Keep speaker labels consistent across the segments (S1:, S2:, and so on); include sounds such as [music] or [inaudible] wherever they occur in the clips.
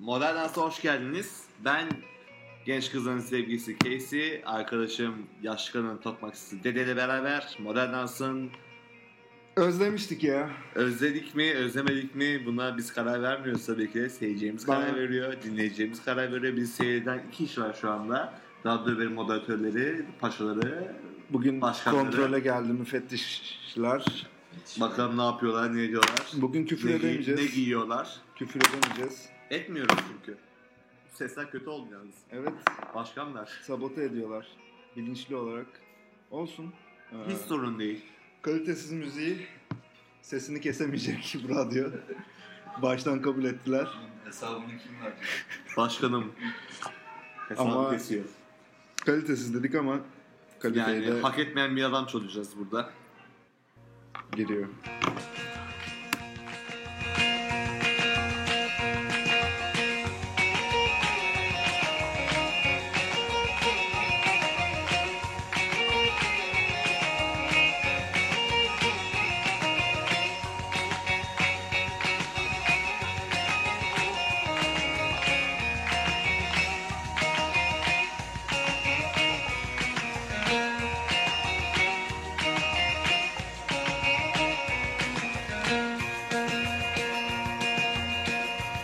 S1: Model Dans'a hoş geldiniz. Ben genç kızların sevgilisi Casey, arkadaşım yaşlı kadının tokmaksızı Dede ile beraber Model Dans'ın
S2: Özlemiştik ya.
S1: özledik mi, özlemedik mi bunlar biz karar vermiyoruz tabii ki de. Seyircilerimiz
S2: Ben-
S1: karar veriyor, dinleyeceğimiz karar veriyor. Biz seyreden iki kişi var şu anda. Radyo ve moderatörleri, paşaları.
S2: Bugün
S1: Başkanları.
S2: kontrole geldi müfettişler.
S1: Bakalım ne yapıyorlar, ne ediyorlar.
S2: Bugün küfür
S1: ne, giy-
S2: edemeyeceğiz.
S1: ne giyiyorlar.
S2: küfür edemeyeceğiz.
S1: Etmiyoruz çünkü. Sesler kötü oldu yalnız.
S2: Evet,
S1: Başkanlar.
S2: sabote ediyorlar bilinçli olarak. Olsun. Ee,
S1: Hiç sorun değil.
S2: kalitesiz müziği sesini kesemeyecek [laughs] bu radyo. Baştan kabul ettiler.
S3: Hesabını kim verecek?
S1: Başkanım. Hesabı
S2: Ama-
S1: kesiyor.
S2: Kalitesiz dedik ama
S1: Yani
S2: kaliteye de
S1: hak etmeyen bir adam çalacağız burada.
S2: giriyor.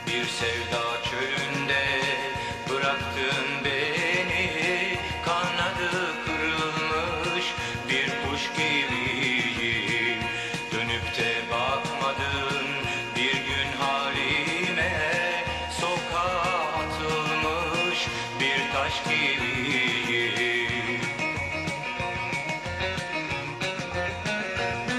S4: Bir sevda çölünde bıraktın beni Kanadı kırılmış bir kuş gibiyim Dönüp de bakmadın bir gün halime Sokağa atılmış bir taş gibiyim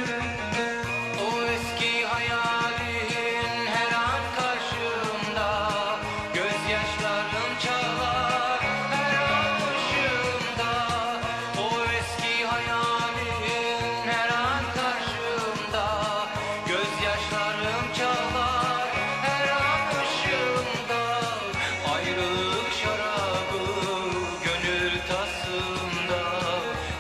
S4: O eski hayalin her an karşımda Gözyaşlarım çalar her an başımda O eski hayalin her an karşımda Gözyaşlarım çalar her an başımda Ayrılık şarabı gönül tasımda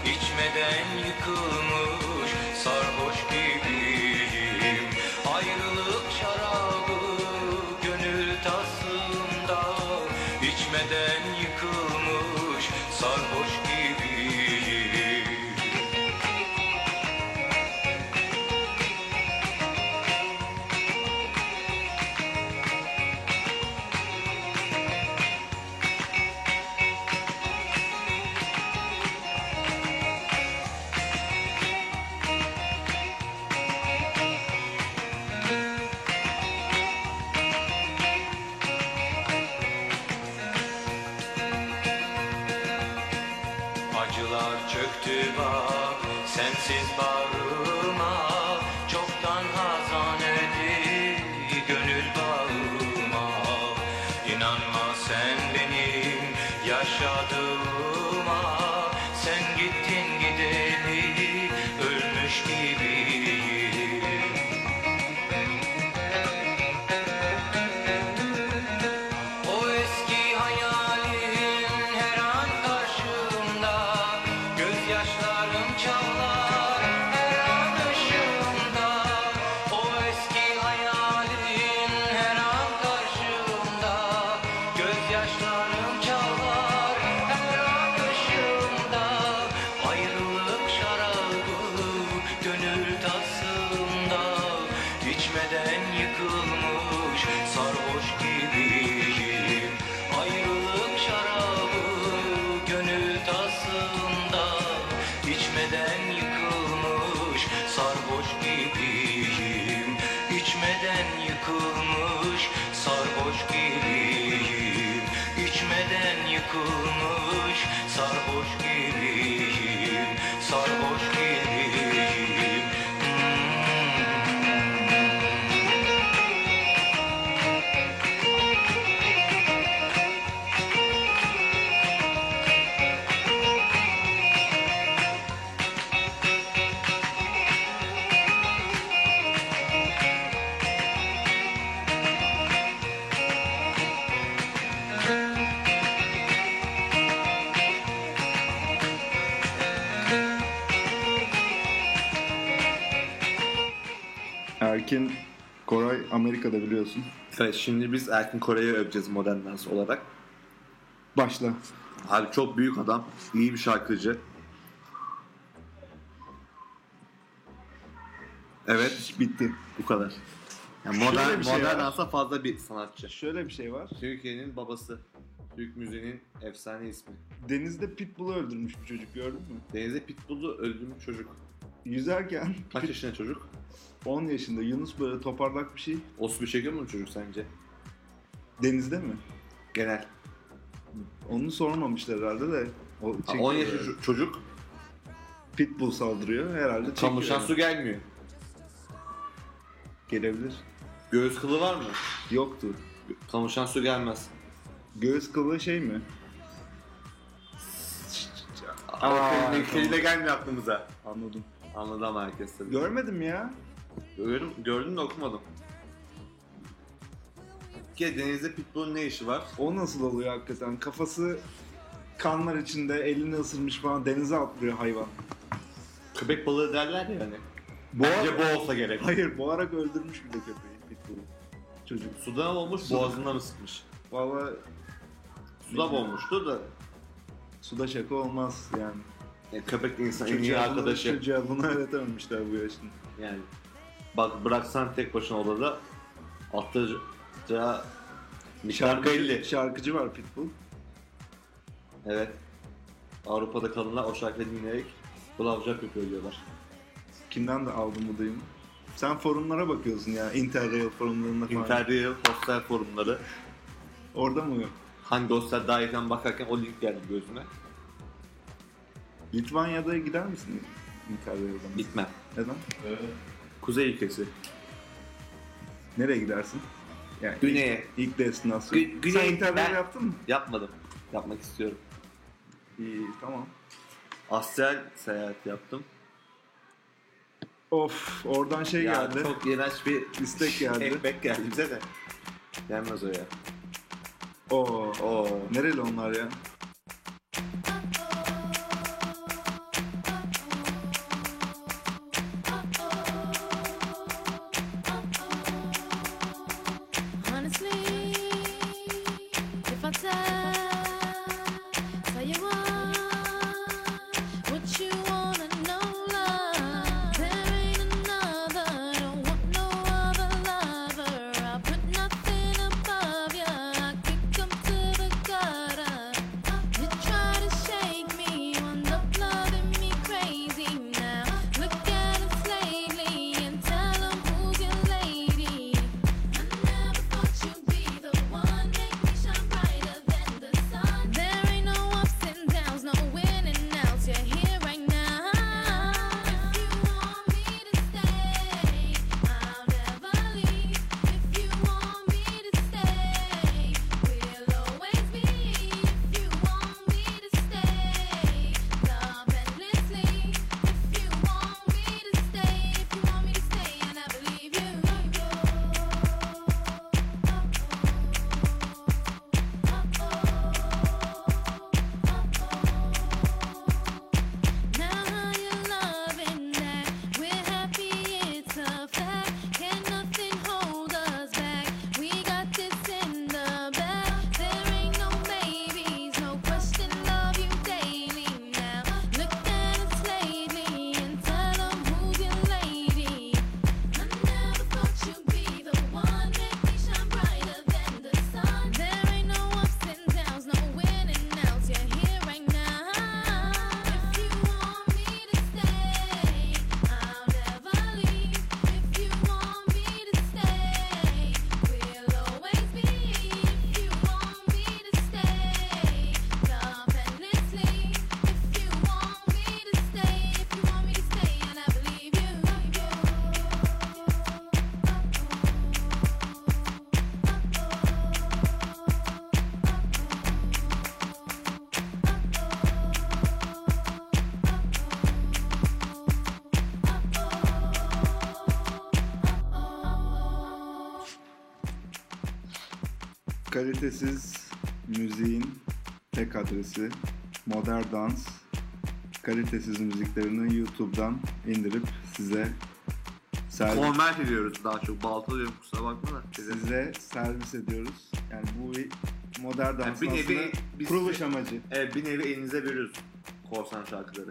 S4: İçmeden yıkılmış sarhoş gibiyim Ayrılık şarabı gönül tasında içmeden yıkılmış sarhoş gibiyim Acılar çöktü bak sensiz bağrıma Çoktan hazan edip gönül bağıma İnanma sen benim yaşadığıma Sen gittin gideli ölmüş gibiyim O eski hayalin her an karşımda Gözyaşlarım çalar her an ışığımda O eski hayalin her an karşımda Gözyaşlarım çalar her an ışığımda Ayrılık şarabı gönül tasımda İçmeden yıkılmış sarhoş gibiyim Ayrılık şarabı gönül tasında İçmeden yıkılmış sarhoş gibiyim İçmeden yıkılmış sarhoş gibiyim İçmeden yıkılmış sarhoş gibiyim Sarhoş gibiyim
S2: Erkin Koray Amerika'da biliyorsun.
S1: Evet, şimdi biz Erkin Koray'ı öveceğiz modern dans olarak.
S2: Başla.
S1: Abi çok büyük adam, iyi bir şarkıcı. Evet,
S2: Bitti.
S1: bu kadar. Yani
S2: Şöyle
S1: modern,
S2: bir şey
S1: modern
S2: ya.
S1: dansa fazla bir sanatçı.
S2: Şöyle bir şey var.
S1: Türkiye'nin babası. Türk müziğinin efsane ismi.
S2: Denizde pitbull'u öldürmüş bir çocuk gördün mü?
S1: Denizde Pitbull'u öldürmüş çocuk.
S2: Yüzerken
S1: Kaç yaşında çocuk?
S2: 10 yaşında Yunus böyle toparlak bir şey.
S1: Osbu çekiyor mu bu çocuk sence?
S2: Denizde mi?
S1: Genel.
S2: Onu sormamışlar herhalde de. O
S1: Ha,
S2: çekiyor
S1: 10 yaşında
S2: herhalde.
S1: ço- çocuk
S2: Pitbull saldırıyor herhalde çekiyor.
S1: çamurdan
S2: yani.
S1: su gelmiyor.
S2: Gelebilir.
S1: Göğüs kılı var mı?
S2: Yoktu.
S1: Kamışan su gelmez.
S2: Göğüs kılığı şey mi?
S1: Ama senin
S2: tamam.
S1: ikili de gelmiyor aklımıza.
S2: Anladım.
S1: Anladı ama herkes tabii.
S2: Görmedim ya.
S1: Gördüm, gördüm de okumadım. Ki denizde pitbull'un ne işi var?
S2: O nasıl oluyor hakikaten? Kafası kanlar içinde elini ısırmış falan denize atlıyor hayvan.
S1: Köpek balığı derler ya hani. Bence
S2: Boğar...
S1: bu olsa gerek.
S2: Hayır boğarak öldürmüş bir de köpeği pitbull'u. Çocuk.
S1: Sudan olmuş,
S2: Suda.
S1: boğazından mı sıkmış?
S2: Valla
S1: Suda boğmuştur da
S2: suda şaka olmaz yani.
S1: yani E, köpek insan en iyi
S2: Çocuğa bunu-
S1: arkadaşı.
S2: Çocuğa bunu [laughs] öğretememişler bu yaşında.
S1: Yani bak bıraksan tek başına odada atlayacağı miktar belli.
S2: Şarkıcı var Pitbull.
S1: Evet. Avrupa'da kadınlar o şarkıyı dinleyerek blowjob yapıyor diyorlar.
S2: Kimden de aldım bu duyumu? Sen forumlara bakıyorsun ya. Interrail forumlarında falan.
S1: Interrail hostel forumları.
S2: Orada mı yok?
S1: Hangi hostel dahilden bakarken o link geldi gözüme.
S2: Litvanya'da gider misin Interrail'den?
S1: Gitmem.
S2: Neden?
S3: Evet.
S1: Kuzey ülkesi.
S2: Nereye gidersin? Yani
S1: Güney'e.
S2: ilk, ilk destinasyon.
S1: Gü- güney-
S2: Sen Interrail
S1: ben-
S2: yaptın mı?
S1: Yapmadım. Yapmak istiyorum.
S2: İyi tamam.
S1: Asyal seyahat yaptım.
S2: Of oradan şey
S1: ya
S2: geldi.
S1: çok iğrenç bir
S2: İstek geldi.
S1: ekmek geldi bize de. Gelmez o ya.
S2: Oo.
S1: Oo.
S2: Nereli onlar ya?
S5: Honestly, if I tell, tell you what, what you wanna know, love, there ain't another. Don't want no other lover. I put nothing above ya. I kick 'em to the gutter. You try to shake me, you end up loving me crazy now. Look at 'em lately and tell 'em who's your lady. I never thought you'd be the one. Make me shine brighter than the sun. There ain't no ups and downs, no in and outs. You're here right now. If you want me to stay, I'll never leave. If you want me to stay, we'll always be. If you want me to stay, love endlessly. If you want me to stay, if you want me to stay, I never leave you. Now you're loving that we're happy, it's a fact. Can nothing hold us back? We got this in the bag. There ain't no babies, no question. Love you daily now. Look at us lately and tell 'em who's your lady. I never thought you'd be the one. Make me shine brighter than the sun. There ain't no ups and downs, no in and outs. You're here right now. If you want me to stay, I'll never leave. If you want me to stay, we'll always be. If you want me to stay, love endlessly. If you want me to stay, if you want me to stay, and I believe you.
S2: Kalitesiz müziğin tek adresi Modern Dans. Kalitesiz müziklerini YouTube'dan indirip size Servis.
S1: Format ediyoruz daha çok. Baltalıyorum kusura bakma da.
S2: Size servis ediyoruz. Yani bu bir modern
S1: Yani
S2: dansın
S1: bir nevi
S2: aslında
S1: biz-
S2: kuruluş amacı.
S1: Evet E, bir nevi elinize veriyoruz korsan şarkıları.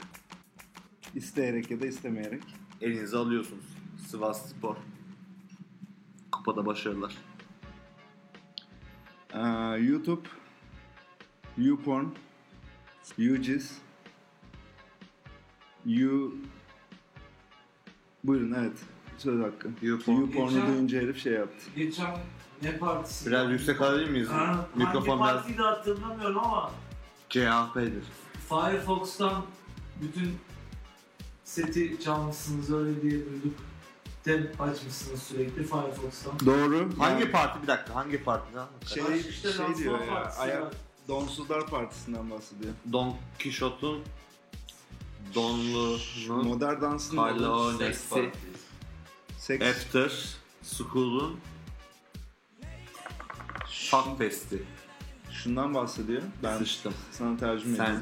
S2: İsteyerek ya da istemeyerek.
S1: Elinize alıyorsunuz. Sivas Spor. Kupada başarılar.
S2: Aa, Ee, YouTube, YouPorn, YouGiz, You... Buyurun evet. Söz hakkı.
S1: YouPorn.
S2: YouPorn'u duyunca herif şey yaptı.
S6: Geçen ne partisi?
S1: Biraz yüksek alabilir miyiz?
S6: Ha,
S1: Mikrofon
S6: hangi
S1: biraz
S6: partiyi de hatırlamıyorum ama
S1: CHP'dir.
S6: Firefox'tan bütün seti çalmışsınız öyle diye duyduk. Tab açmışsınız sürekli Firefox'tan.
S2: Doğru.
S1: Hangi
S2: Yani
S1: parti? Bir dakika hangi parti? lan?
S2: Şey,
S6: Baş-
S2: şey
S6: lansman
S2: diyor ya.
S6: partisi
S2: Ayak,
S6: var.
S2: Donsuzlar Partisi'nden bahsediyor.
S1: Don Kişot'un Donlu'nun
S2: Modern dansın
S1: Kalonesi
S2: seks
S1: After School'un Fuck Fest'i.
S2: şundan bahsediyor.
S1: Ben
S2: Ben
S1: sıçtım.
S2: sana tercüme
S1: Sen
S2: edeyim.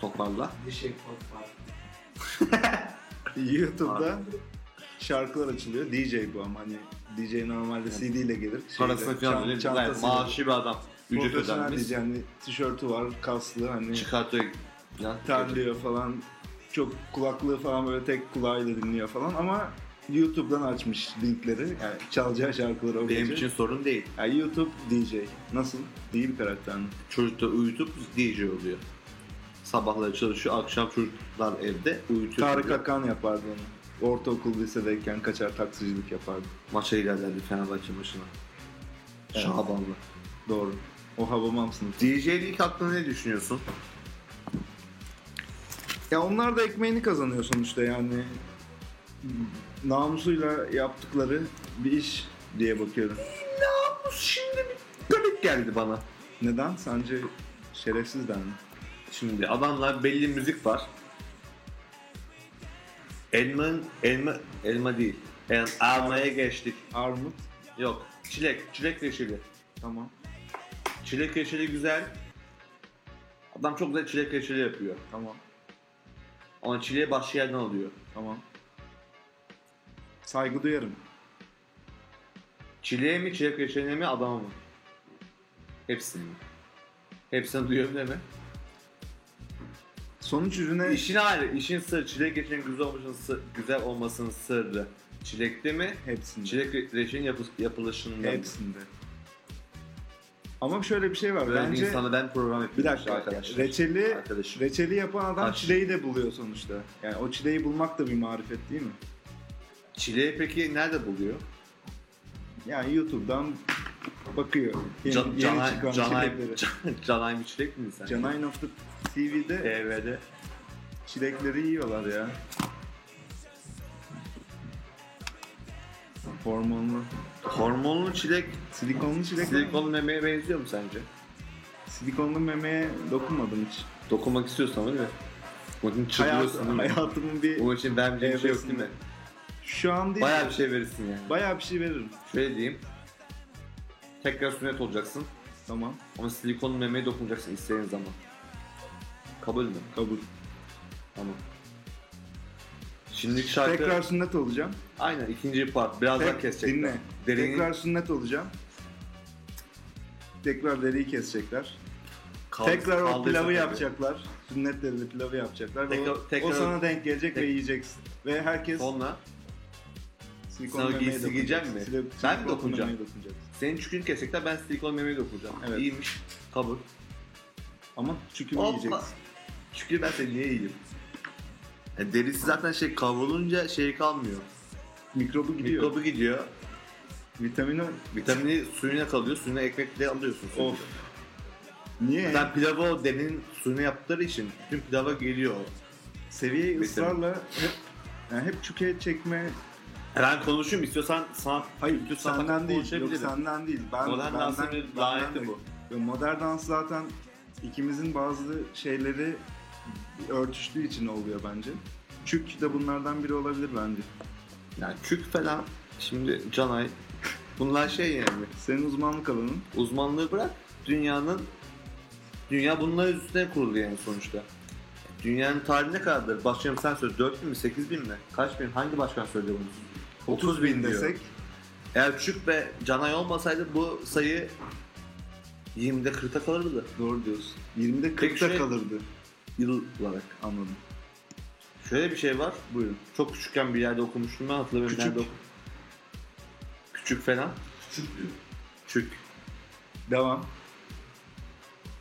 S1: toparla.
S6: Dişek pot şey var.
S2: [laughs] YouTube'da şarkılar açılıyor. DJ bu ama hani DJ normalde CD ile gelir. Şeyde,
S1: Parasını
S2: çan-
S1: falan ödeyip
S2: çantasıyla.
S1: gayet maaşı bir adam. Ücret
S2: Profesyonel
S1: ödenmiş.
S2: DJ yani tişörtü var, kaslı hani
S1: Çıkartıyor. Ya,
S2: terliyor falan. Çok kulaklığı falan böyle tek kulağıyla dinliyor falan ama YouTube'dan açmış linkleri. Yani çalacağı şarkıları o
S1: Benim
S2: gece.
S1: için sorun değil.
S2: Yani YouTube DJ. Nasıl? Değil bir karakter mi?
S1: Çocuk da uyutup DJ oluyor. Sabahları çalışıyor, akşam çocuklar evde uyutuyor.
S2: Tarık Akan yapardı onu. Ortaokul lisedeyken kaçar taksicilik yapardı.
S1: Maça ilerlerdi Fenerbahçe maçına.
S2: Evet.
S1: Şabanlı.
S2: Doğru. O Hababam sınıfı.
S1: DJ'lik hakkında ne düşünüyorsun?
S2: Ya onlar da ekmeğini kazanıyor sonuçta yani. Namusuyla yaptıkları bir iş diye bakıyorum.
S1: Şimdi bir garip geldi bana.
S2: Neden? Sence şerefsizden mi?
S1: Şimdi adamlar belli müzik var. Elmanın, elma, elma değil. Yani almaya geçtik.
S2: Armut.
S1: Yok. Çilek, çilek reçeli.
S2: Tamam.
S1: Çilek reçeli güzel. Adam çok güzel çilek reçeli yapıyor.
S2: Tamam.
S1: Ama çileği başka yerden alıyor.
S2: Tamam. Saygı duyarım.
S1: Çileğe mi, çilek reçeline mi, adama mı? Hepsini mi? Hepsini duyuyorum deme.
S2: Sonuç ürüne
S1: İşin hali, işin sırrı, çilek reçelinin güzel olmasının, sı- güzel olmasının sırrı. Çilekte mi?
S2: hepsinde.
S1: Çilek re- reçelinin yapı, yapılışında mı?
S2: Hepsinde. Ama şöyle bir şey var.
S1: Böyle bir
S2: Bence
S1: insana ben program yapıyorum
S2: bir dakika
S1: arkadaşlar.
S2: Reçeli
S1: Arkadaşım.
S2: reçeli yapan adam
S1: Aç.
S2: çileği de buluyor sonuçta. Yani o çileği bulmak da bir marifet değil mi?
S1: Çileği peki nerede buluyor?
S2: Yani YouTube'dan bakıyor. Yeni,
S1: Can,
S2: yeni
S1: Canay,
S2: çıkan
S1: Canay, [laughs]
S2: çilekleri.
S1: Can- Canay bir çilek mi sen?
S2: Canine of the TV'de
S1: TV'de.
S2: çilekleri yiyorlar ya. Hormonlu.
S1: Hormonlu çilek,
S2: Silikonlu çilek. mi?
S1: silikonlu memeye benziyor mu sence?
S2: Silikonlu memeye dokunmadım hiç.
S1: Dokunmak istiyorsan değil mi? Bakın
S2: Hayat,
S1: çıldırıyorsun değil mi?
S2: hayatımın bir...
S1: Onun için vermeyeceğim bir şey yok değil
S2: Evresinde.
S1: mi?
S2: Şu an değil.
S1: Bayağı bir şey verirsin yani.
S2: Bayağı bir şey veririm.
S1: Şöyle diyeyim. Tekrar sünnet olacaksın.
S2: Tamam.
S1: Ama silikonlu memeye dokunacaksın istediğin zaman. Kabul mü?
S2: Kabul.
S1: Tamam. Şimdiki şarkı...
S2: Tekrar sünnet olacağım.
S1: Aynen ikinci part. Birazdan
S2: Tek-
S1: kesecekler.
S2: Dinle.
S1: Derinin
S2: Tekrar sünnet olacağım. Tekrar deriyi kesecekler.
S1: kal-
S2: tekrar o
S1: kaldıysa
S2: pilavı
S1: tabii.
S2: yapacaklar. Sünnet derili pilavı yapacaklar. ve o,
S1: Tekrar- tekrar-
S2: o sana denk gelecek ve
S1: tek-
S2: yiyeceksin. Ve herkes
S1: Sonra
S2: silikon
S1: Sen o
S2: memeye
S1: giysi
S2: dokunacak.
S1: giyecek mi?
S2: Sile-
S1: Ben mi
S2: silikonlu
S1: dokunacağım?
S2: memeye dokunacak.
S1: senin çükünü kesekler ben silikon memeye dokunacağım.
S2: Evet.
S1: İyiymiş. Kabul.
S2: Ama çükümü
S1: Hoppa.
S2: yiyeceksin.
S1: Çünkü ben seni niye yiyeyim? E, derisi zaten şey kavrulunca şey kalmıyor.
S2: Mikrobu gidiyor.
S1: Mikrobu gidiyor.
S2: Vitamini
S1: Vitamini suyuna kalıyor. Suyuna ekmekle alıyorsun. suyunu.
S2: of. Niye?
S1: Sen pilavı o demin suyuna yaptıkları için bütün pilava geliyor. o.
S2: Seviyeyi
S1: Vitamin.
S2: ısrarla hep, yani hep çükeye çekme
S1: Ben konuşayım istiyorsan sana
S2: Hayır,
S1: bütün sabah
S2: senden değil. Yok
S1: konuşabilirim.
S2: senden değil. Ben,
S1: Modern
S2: benden-
S1: dansın bir
S2: benden
S1: laneti
S2: de-
S1: bu.
S2: Yo, Modern dans zaten ikimizin bazı şeyleri örtüştüğü için oluyor bence. Çük de bunlardan biri olabilir bence.
S1: Yani kük falan şimdi Canay bunlar şey yani
S2: Senin uzmanlık alanın
S1: uzmanlığı bırak dünyanın dünya bunların üstüne kurulu yani sonuçta. Dünyanın tarihi ne kadardır? Başkanım sen söyle 4 bin mi 8 bin mi? Kaç bin? Hangi başkan söyledi bunu? 30 bin diyor.
S2: desek
S1: Eğer Çük ve Canay olmasaydı bu sayı 20'de 40'a kalırdı da
S2: doğru diyorsun. 20'de 40'ta
S1: Peki şey-
S2: kalırdı
S1: yıl olarak.
S2: anladım.
S1: Şöyle bir şey var.
S2: Buyurun.
S1: Çok küçükken bir yerde okumuştum ben hatırlamıyorum.
S2: Küçük.
S1: Nerede oku- Küçük falan. Küçük.
S2: Devam.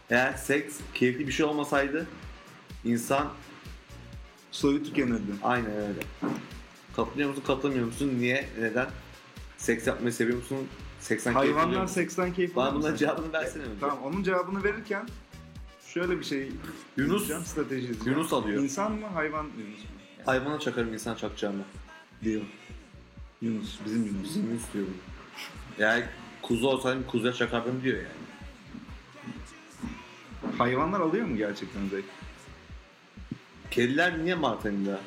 S1: Eğer seks keyifli bir şey olmasaydı insan
S2: Soyu tükenirdi.
S1: aynen öyle. Katılıyor musun, katılmıyor musun? Niye, neden? Seks yapmayı seviyor musun? Seksen
S2: Hayvanlar seksten keyif
S1: Bana
S2: alır mı
S1: bunların
S2: sence?
S1: cevabını versene önce.
S2: E, Tamam onun cevabını verirken şöyle bir şey
S1: Yunus-
S2: izleyeceğim, strateji izleyeceğim.
S1: Yunus alıyor.
S2: İnsan mı hayvan Yunus mu?
S1: Hayvana çakarım insan çakacağımı.
S2: Diyor. Yunus bizim Yunus.
S1: Bizim Yunus diyor bunu. Yani kuzu olsaydım kuzuya çakardım diyor yani.
S2: Hayvanlar alıyor mu gerçekten zevk?
S1: Kediler niye Mart ayında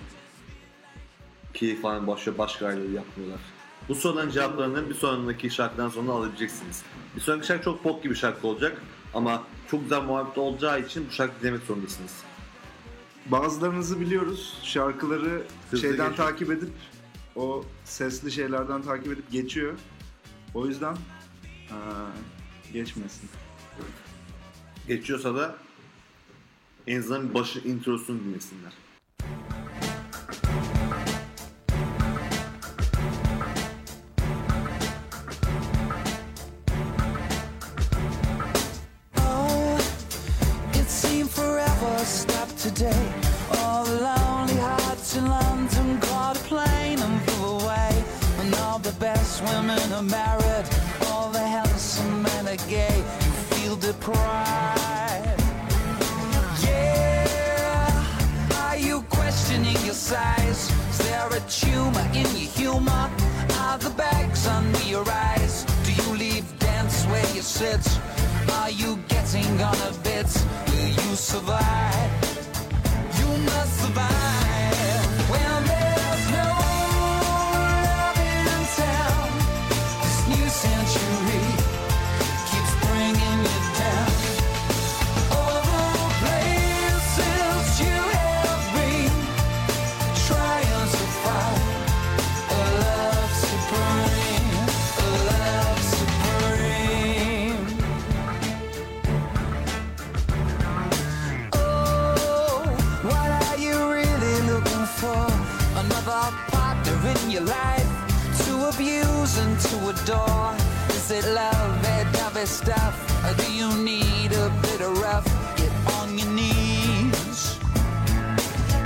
S1: keyif falan başlıyor, başka aileleri yapmıyorlar? Bu soruların cevaplarını bir sonraki şarkıdan sonra alabileceksiniz. Bir sonraki şarkı çok bok gibi şarkı olacak ama çok güzel muhabbet olacağı için bu şarkı dinlemek zorundasınız.
S2: Bazılarınızı biliyoruz. Şarkıları
S1: Hızlı
S2: şeyden
S1: geçiyor.
S2: takip edip o sesli şeylerden takip edip geçiyor. O yüzden eee, geçmesin.
S1: Geçiyorsa da en azından başı introsunu dinlesinler.
S7: Oh, it seemed forever stopped today. All the lonely hearts in London caught a plane and flew away. And all the best women are married. All the handsome men are gay. You feel deprived. Yeah, are you questioning your size? Is there a tumor in your humor? Are the bags under your eyes? Do you leave dance where you sit? Are you getting on a bit? Will you survive? You must survive. Well, there's no love in town. This new century keeps bringing you down. All the places you have been, trying to find a love supreme, a love supreme. Oh, what are you really looking for? Another partner in your life to abuse and to adore. Is it love and other stuff? Or do you need a bit of rough? Get on your knees.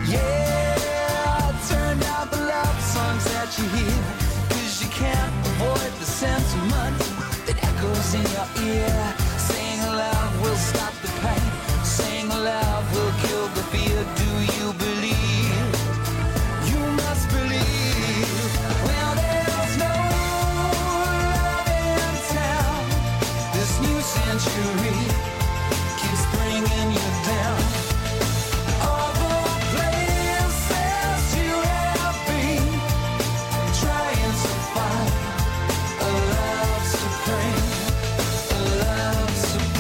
S7: Yeah, turn out the love songs that you hear. Cause you can't avoid the sentiment that echoes in your ear. Saying love will stop the pain. Saying love will kill the fear. Do you believe? You must believe. Well, there's no love in town. This new century keeps bringing you down. All the places you have been, trying to find a love supreme, a love supreme.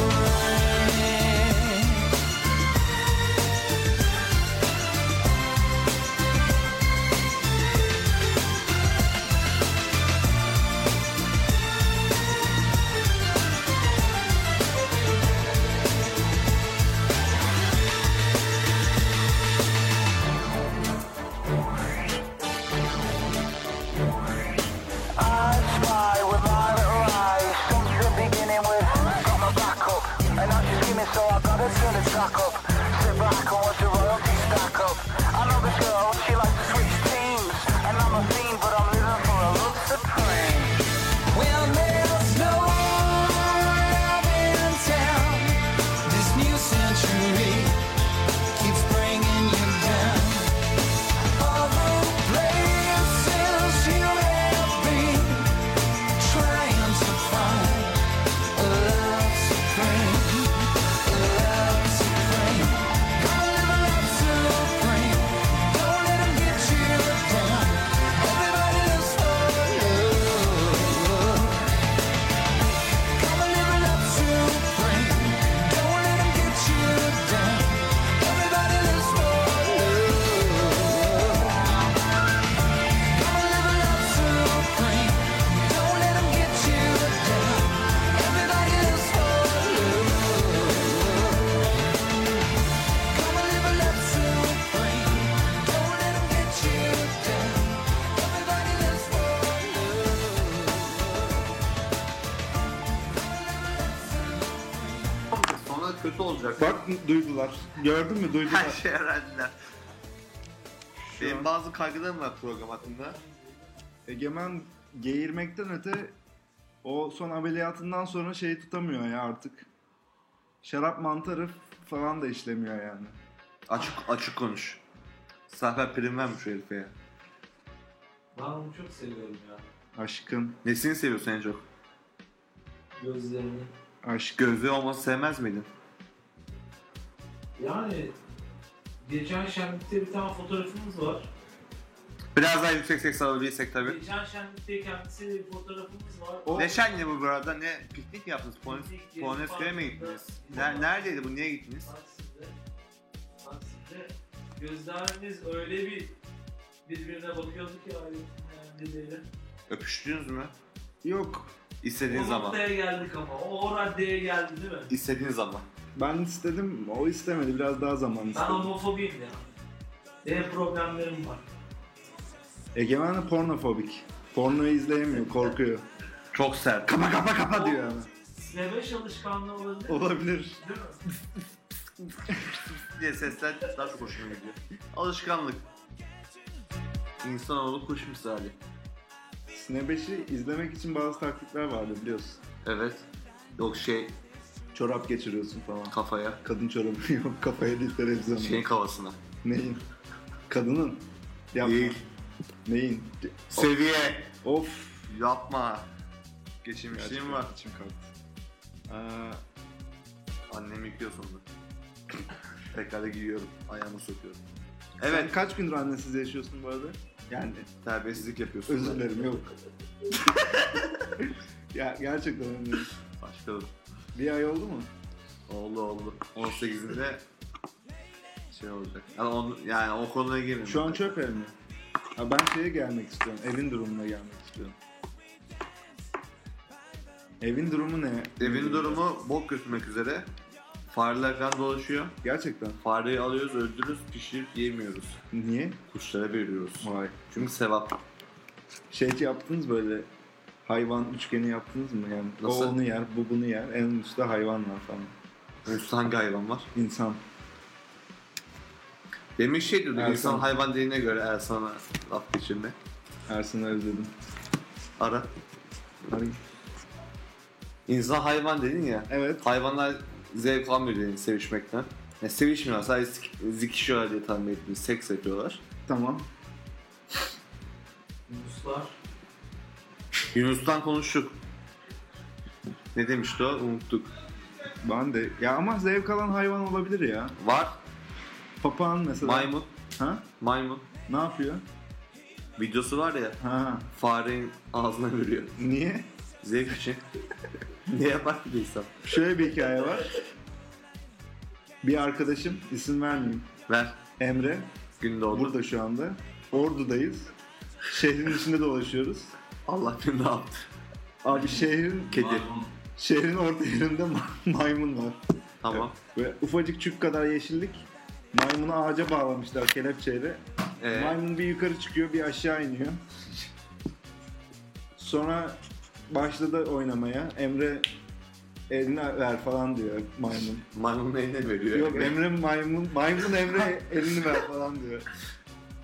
S1: kötü olacak.
S2: Bak duydular. Gördün mü
S1: Her
S2: duydular.
S1: şey öğrendiler.
S2: Şu
S1: Benim
S2: an-
S1: bazı kaygılarım var program hakkında.
S2: Egemen geğirmekten öte o son ameliyatından sonra şeyi tutamıyor ya artık. Şarap mantarı falan da işlemiyor yani.
S1: Açık açık konuş. Zafer prim vermiş şu herife ya.
S6: Ben onu çok seviyorum ya.
S2: Aşkın,
S1: Nesini seviyorsun en çok?
S6: Gözlerini.
S2: aşk.
S1: Gözleri olması sevmez miydin?
S6: Yani geçen şenlikte bir tane fotoğrafımız var.
S1: Biraz daha yüksek ses alabilirsek tabii.
S6: Geçen şenlikte kendisiyle bir fotoğrafımız var.
S2: O-
S1: Ne şenli bu burada? Ne piknik mi yaptınız?
S6: Piknik,
S1: Ponesköy'e mi
S6: parkta,
S1: gittiniz?
S6: İnanılmaz.
S1: Ner- neredeydi bu? Niye gittiniz?
S6: Taksim'de. Taksim'de gözlerimiz öyle bir birbirine bakıyordu ki ayrı yani
S1: Öpüştünüz mü?
S2: Yok.
S1: İstediğiniz
S6: O
S1: zaman.
S6: noktaya geldik ama. O, o raddeye geldi değil mi?
S1: İstediğiniz zaman.
S2: Ben istedim, o istemedi. Biraz daha zaman
S6: Ben
S2: istedi.
S6: homofobiyim ya. Benim problemlerim var.
S2: Egemen de pornofobik. Pornoyu izleyemiyor, korkuyor. [laughs]
S1: Çok sert.
S2: Kapa kapa kapa diyor yani.
S6: Sinebeş alışkanlığı olabilir mi?
S2: Olabilir.
S6: Değil mi?
S1: diye sesler daha çok hoşuma gidiyor. Alışkanlık. İnsanoğlu kuş misali.
S2: Sinebeş'i izlemek için bazı taktikler vardı biliyorsun.
S1: Evet. Yok şey
S2: Çorap geçiriyorsun falan.
S1: kafaya.
S2: Kadın çorabı [laughs] yok, kafaya değil televizyonda.
S1: Şeyin kafasına.
S2: Neyin? Kadının. Yapma.
S1: Değil.
S2: Neyin?
S1: Seviye.
S2: Of.
S1: Yapma. Geçirmişliğim var. Ee,
S2: İçim kalktı. Aa,
S1: Annem yıkıyor [coughs] sonunda. Tekrar da giyiyorum. Ayağımı sokuyorum.
S2: evet.
S1: Evet.
S2: kaç gündür annesiz yaşıyorsun bu arada? Yani
S1: Terbiyesizlik yapıyorsun.
S2: özür
S1: [laughs]
S2: dilerim yok. ya gerçekten özür dilerim.
S1: Başlayalım.
S2: Bir ay oldu mu?
S1: Oldu oldu. 18'inde şey olacak. Yani, on, yani o konuya girmiyorum.
S2: Şu an çöp ev mi? Ha, ben şeye gelmek istiyorum. Evin durumuna gelmek istiyorum. Evin durumu ne?
S1: Evin durumu bok götürmek üzere. Fareler falan dolaşıyor.
S2: Gerçekten.
S1: Fareyi alıyoruz, öldürürüz, pişirip yemiyoruz.
S2: Niye?
S1: Kuşlara veriyoruz.
S2: Vay.
S1: Çünkü sevap.
S2: Şey yaptınız böyle hayvan üçgeni yaptınız mı? Yani
S1: Nasıl?
S2: o onu yer, bu bunu yer. En üstte hayvan var falan.
S1: Üstü hangi hayvan var?
S2: İnsan.
S1: Demin şey diyordu,
S2: Ersan.
S1: insan hayvan dediğine göre Ersan'a laf geçirme.
S2: Ersin'i özledim.
S1: Ara.
S2: Hani-
S1: İnsan hayvan dedin ya.
S2: Evet.
S1: Hayvanlar zevk almıyor dedin sevişmekten. Yani sevişmiyorlar, sadece sik- zikişiyorlar diye tahmin ettim. Seks yapıyorlar.
S2: Tamam.
S6: Muslar.
S1: Yunus'tan konuştuk. Ne demişti o? Unuttuk.
S2: Ben de. Ya ama zevk alan hayvan olabilir ya.
S1: Var.
S2: Papağan mesela.
S1: Maymun.
S2: Ha?
S1: Maymun.
S2: Ne yapıyor?
S1: Videosu var ya.
S2: Ha.
S1: Farenin ağzına veriyor.
S2: Niye?
S1: Zevk
S2: [laughs]
S1: için. ne yapar ki bir insan?
S2: Şöyle bir hikaye var. Bir arkadaşım, isim vermeyeyim.
S1: Ver.
S2: Emre.
S1: Gün doğdu.
S2: Burada şu anda. Ordu'dayız. Şehrin içinde dolaşıyoruz.
S1: Allah bilir ne yaptı.
S2: Abi şehrin
S1: Kedi.
S2: şehrin orta yerinde ma- maymun var.
S1: Tamam.
S2: Böyle ufacık çük kadar yeşillik. Maymunu ağaca bağlamışlar kelepçeyle.
S1: Ee,
S2: Maymun bir yukarı çıkıyor, bir aşağı iniyor. Sonra başladı oynamaya. Emre elini ver falan diyor maymun.
S1: maymun eline veriyor.
S2: Yok Emre maymun, maymun Emre elini ver falan diyor.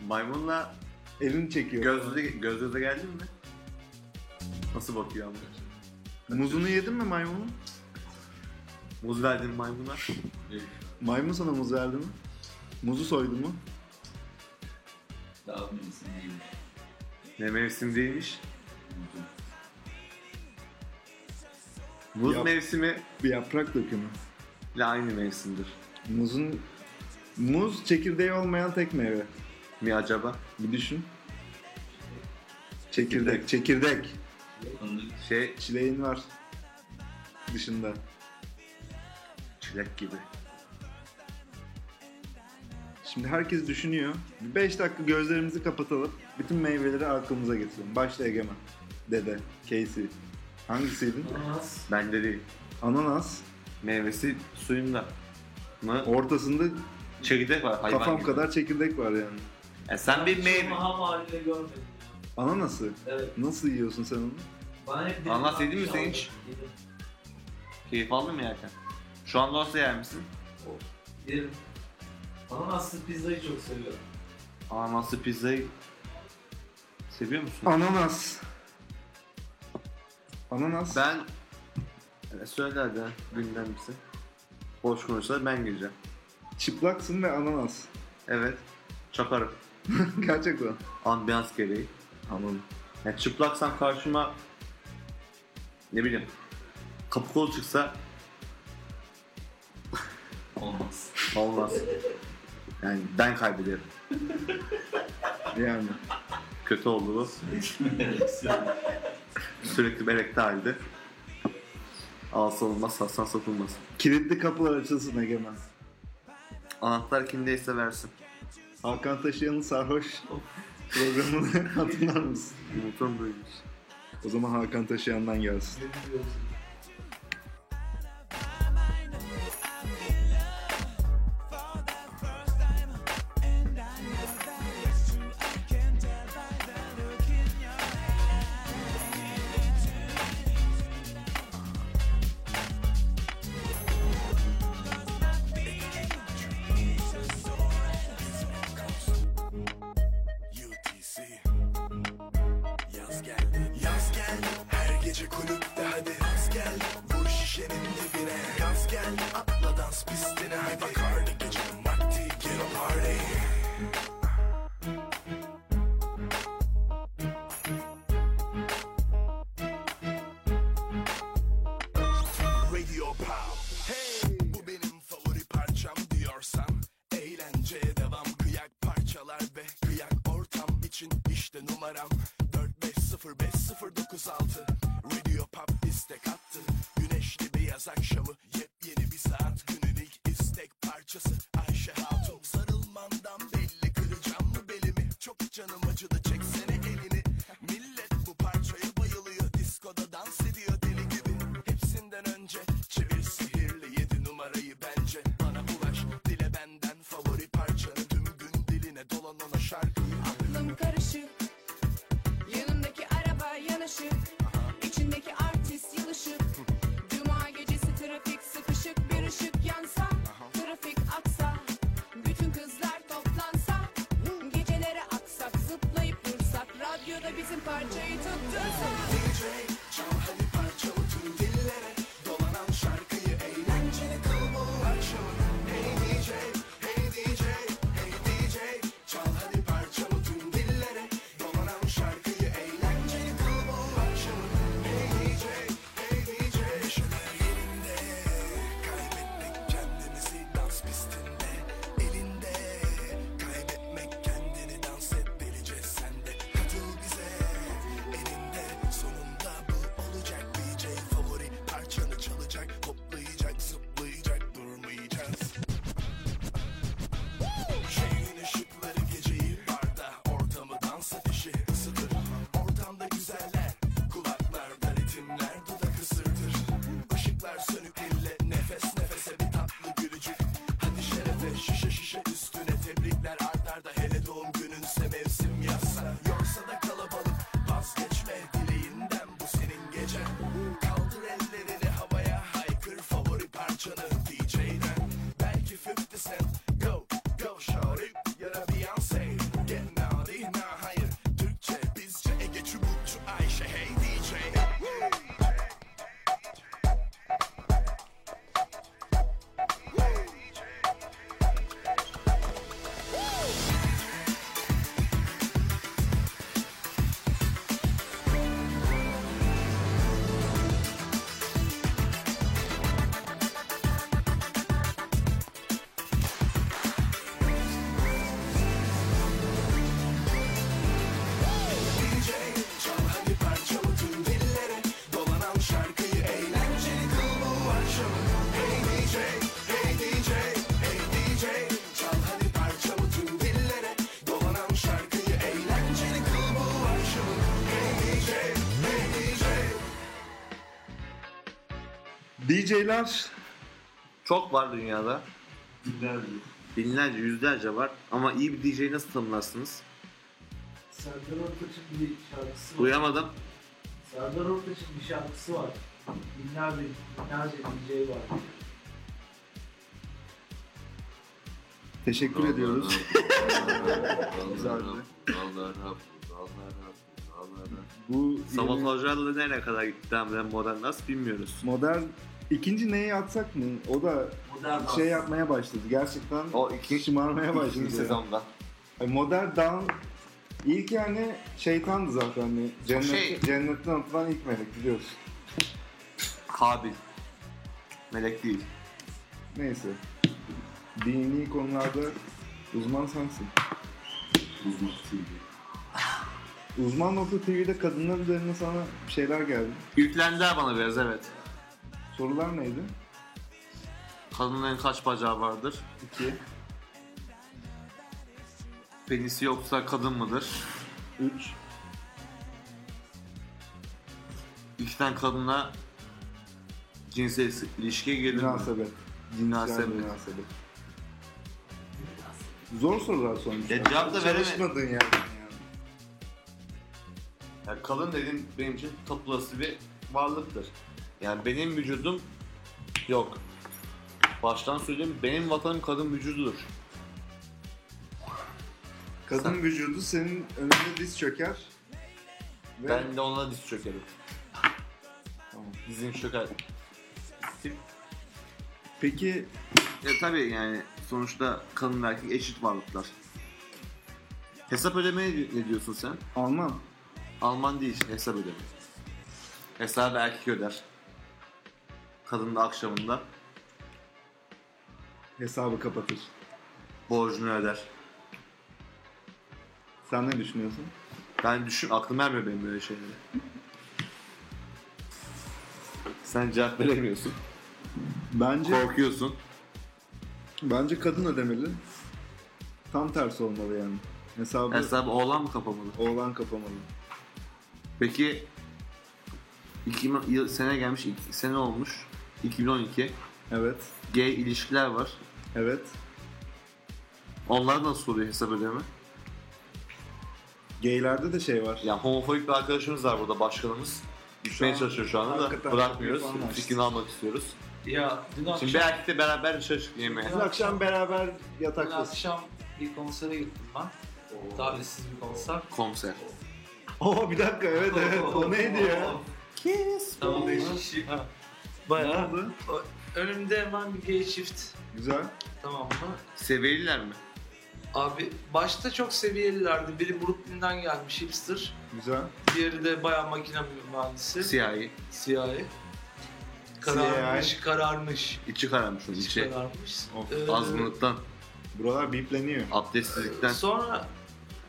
S1: Maymunla
S2: Elini çekiyor.
S1: göz göze, göz göze geldin mi? Nasıl bakıyor amca?
S2: Muzunu yedin mi maymunun?
S1: Muz verdin maymuna.
S2: Maymun sana muz verdi mi? Muzu soydu mu?
S3: Daha bilmesin değilmiş.
S1: Ne mevsim değilmiş. Muz
S2: Yap.
S1: mevsimi
S2: Bir yaprak dökümü.
S1: ile aynı mevsimdir.
S2: Muzun muz çekirdeği olmayan tek meyve.
S1: Mi acaba?
S2: Bir düşün. Çekirdek, çekirdek.
S3: Tanıdık
S1: Şey
S2: Çileğin var dışında.
S1: çilek gibi.
S2: Şimdi herkes düşünüyor. 5 dakika gözlerimizi kapatalım. Bütün meyveleri aklımıza getirelim. Başta Egemen, Dede, Casey. Hangisiydin?
S6: Ananas.
S1: Bende değil.
S2: Ananas.
S1: Meyvesi suyunda. Mı?
S2: Ortasında
S1: Çekirdek var hayvan
S2: kafam
S1: gibi.
S2: kadar çekirdek var yani.
S1: E sen bir meyve.
S6: Ham haline görmedim.
S2: Ananası.
S6: Evet.
S2: Nasıl yiyorsun sen onu?
S6: Ben hep
S1: Ananas
S6: dedim,
S1: yedin mi sen
S6: aldım.
S1: hiç?
S6: Yedim.
S1: Keyif aldın mı yerken? Şu an olsa yer misin?
S6: Yerim. Ananaslı pizzayı çok seviyorum.
S1: Ananaslı pizzayı seviyor musun?
S2: Ananas. Ananas.
S1: Ben Evet, söyle hadi gündemimizi. Boş konuşsalar ben gireceğim.
S2: Çıplaksın ve ananas. [laughs]
S1: Evet. Çakarım.
S2: Gerçekten.
S1: Ambiyans gereği.
S2: Anladım.
S1: Yani çıplaksam karşıma ne bileyim kapı kolu çıksa
S8: Olmaz.
S1: olmaz. Yani ben kaybederim.
S2: Yani.
S1: Kötü oldu bu. Sürekli belekte halde. Alsa olmaz, Hasan satılmaz.
S2: Kilitli kapılar açılsın Egemen.
S1: Anahtar kimdeyse versin.
S2: Hakan Taşıyan'ın sarhoş programını [laughs] hatırlar mısın?
S1: Unuturum böyleymiş.
S2: O zaman Hakan Taşıyan'dan gelsin.
S7: UTC Yaz geldi Yaz geldi Her gece kulüpte hadi Yaz geldi Vur şişenin dibine Yaz geldi Atla dans pistine hadi Bakardı gecenin vakti Get a party Radio Pow Hey Bu benim favori parçam diyorsan Eğlenceye devam Kıyak parçalar ve kıyak ortam için işte numaram 4505096 Radio Pop istek attı Güneşli beyaz akşamı Yepyeni bir saat günün ilk istek parçası Ayşe Hatun Sarılmandan belli kıracağım mı belimi Çok canım acıdı çeksene elini Millet bu parçaya bayılıyor Diskoda dans ediyor deli gibi Hepsinden önce çevir sihirli yedi numarayı bence Bana ulaş dile benden favori parçanı Tüm gün diline dolan ona şarkıyı
S9: Aklım karışık Yanımdaki araba yanaşık İçindeki artist yılışık Cuma gecesi trafik sıkışık Bir ışık yansa Trafik aksa Bütün kızlar toplansa Gecelere aksak zıplayıp dursak Radyoda bizim parçayı tuttursak
S7: Kaybetmek kendimizi dans pistinde Elinde Kaybetmek kendini dans et delice sende Katıl bize Elinde sonunda bu olacak DJ favori parçanı çalacak Hoplayacak zıplayacak durmayacağız Şehrin ışıkları geceyi barda Ortamı dans ateşi ısıtır Ortamda güzeller Kulaklarda ritimler dudak ısırtır Işıklar sönük elle Nefes nefese bir tatlı gülücük Hadi şerefe şişe şişe üstüne Tebrikler art arda hele doğum gününse Mevsim yazsa yorsa da kalabalık Vazgeçme dileğinden bu senin gecen Kaldır ellerini havaya haykır favori parçanı DJ'den Belki 50 Cent Go go shawty ya da Beyoncé Get naughty nah hayır Türkçe bizce Ege Çubukçu Ayşe hey DJ
S2: DJ'ler
S1: Çok var dünyada.
S6: Dinler diyor.
S1: Binlerce, yüzlerce var. Ama iyi bir DJ'yi nasıl tanımlarsınız?
S6: Serdar Ortaç'ın bir şarkısı var.
S1: Duyamadım.
S6: Serdar Ortaç'ın bir şarkısı var. Binlerce, binlerce DJ var.
S2: Teşekkür ediyoruz.
S10: Allah
S2: Güzeldi.
S10: Rabbim, Allah Rabbim, Allah Rabbim, Allah Rabbim.
S2: Bu yeni
S1: Sabotajlarla nereye kadar gitti hamle modern nasıl bilmiyoruz.
S2: modern ikinci neyi atsak mı? O da
S4: Modern dans.
S2: şey yapmaya başladı. Gerçekten
S1: O iki-
S2: şımarmaya başladı.
S1: İkinci sezonda.
S2: E, Modern Down ilk yani şeytandı zaten. Hani cennet,
S1: Şey-
S2: Cennetten atılan ilk melek biliyorsun.
S1: Kabil. Melek değil.
S2: Neyse. Dini konularda uzman sensin.
S10: Uzman TV.
S2: Uzman.tv'de kadınlar üzerine sana bir şeyler geldi.
S1: Yüklendiler bana biraz evet.
S2: Sorular neydi?
S1: Kadınların kaç bacağı vardır?
S2: İki.
S1: Penisi yoksa kadın mıdır?
S2: 3.
S1: İki tane kadınla cinsel ilişkiye girilir mi?
S2: Münasebet.
S1: Münasebet.
S2: Yani münasebet. Zor sorular sonuçta.
S1: Ya cevap da veremedi.
S2: Çalışmadın yani.
S1: Yani kadın dediğim benim için tapulası bir varlıktır. Yani benim vücudum yok. Baştan söyleyeyim benim vatanım kadın vücududur.
S2: Kadın
S1: Sen-
S2: vücudu senin önünde diz çöker. Ve
S1: Ben de ona diz çökerim.
S2: Tamam.
S1: Dizim çöker.
S2: Peki
S1: E tabii yani sonuçta kadın ve erkek eşit varlıklar. Hesap ödemeye ne diyorsun sen?
S2: Alman
S1: Alman değil hesap ödeme. Hesabı erkek öder. Kadın da akşamında
S2: hesabı kapatır.
S1: borcunu öder.
S2: Sen ne düşünüyorsun?
S1: Ben düşün aklım ermiyor benim böyle şeylere. Sen cevap veremiyorsun.
S2: Bence
S1: Korkuyorsun.
S2: bence kadın ödemeli. Tam tersi olmalı yani. Hesabı
S1: Hesabı oğlan mı kapamalı?
S2: oğlan kapamalı.
S1: Peki 2000 yıl sene gelmiş, iki sene olmuş. 2012.
S2: Evet.
S1: Gay ilişkiler var.
S2: Evet.
S1: Onlar nasıl oluyor hesap ödeme?
S2: Gaylerde de şey var.
S1: Ya homofobik bir arkadaşımız var burada başkanımız. Gitmeye
S2: an
S1: çalışıyor şu anda da
S2: hakikaten
S1: bırakmıyoruz.
S2: çok büyük anlaştık.
S1: Fikrini almak istiyoruz.
S4: Ya dün akşam,
S1: Şimdi bir erkekle beraber dışarı çıktık yemeğe.
S2: Biz akşam beraber
S4: dün
S2: yataktasın.
S4: akşam bir konsere gittim ben. Davetsiz bir konser.
S1: Komiser.
S2: Oo bir dakika evet evet [laughs]
S4: [laughs]
S2: o neydi ya?
S4: Tamam. Ha.
S2: Ne
S4: Bayağı.
S2: oldu?
S4: Önümde hemen bir gay çift.
S2: Güzel.
S4: Tamam mı?
S1: Seveliler mi?
S4: Abi başta çok seviyelilerdi. Biri Brooklyn'den gelmiş hipster.
S2: Güzel.
S4: Diğeri de bayağı makine mühendisi.
S1: Siyahi.
S4: CIA. Kararmış, kararmış.
S1: İçi kararmış onun
S4: İçi
S1: içi.
S4: kararmış.
S2: Of,
S4: Ee,
S1: Azgınlıktan,
S2: Buralar bipleniyor.
S1: abdestsizlikten.
S4: Sonra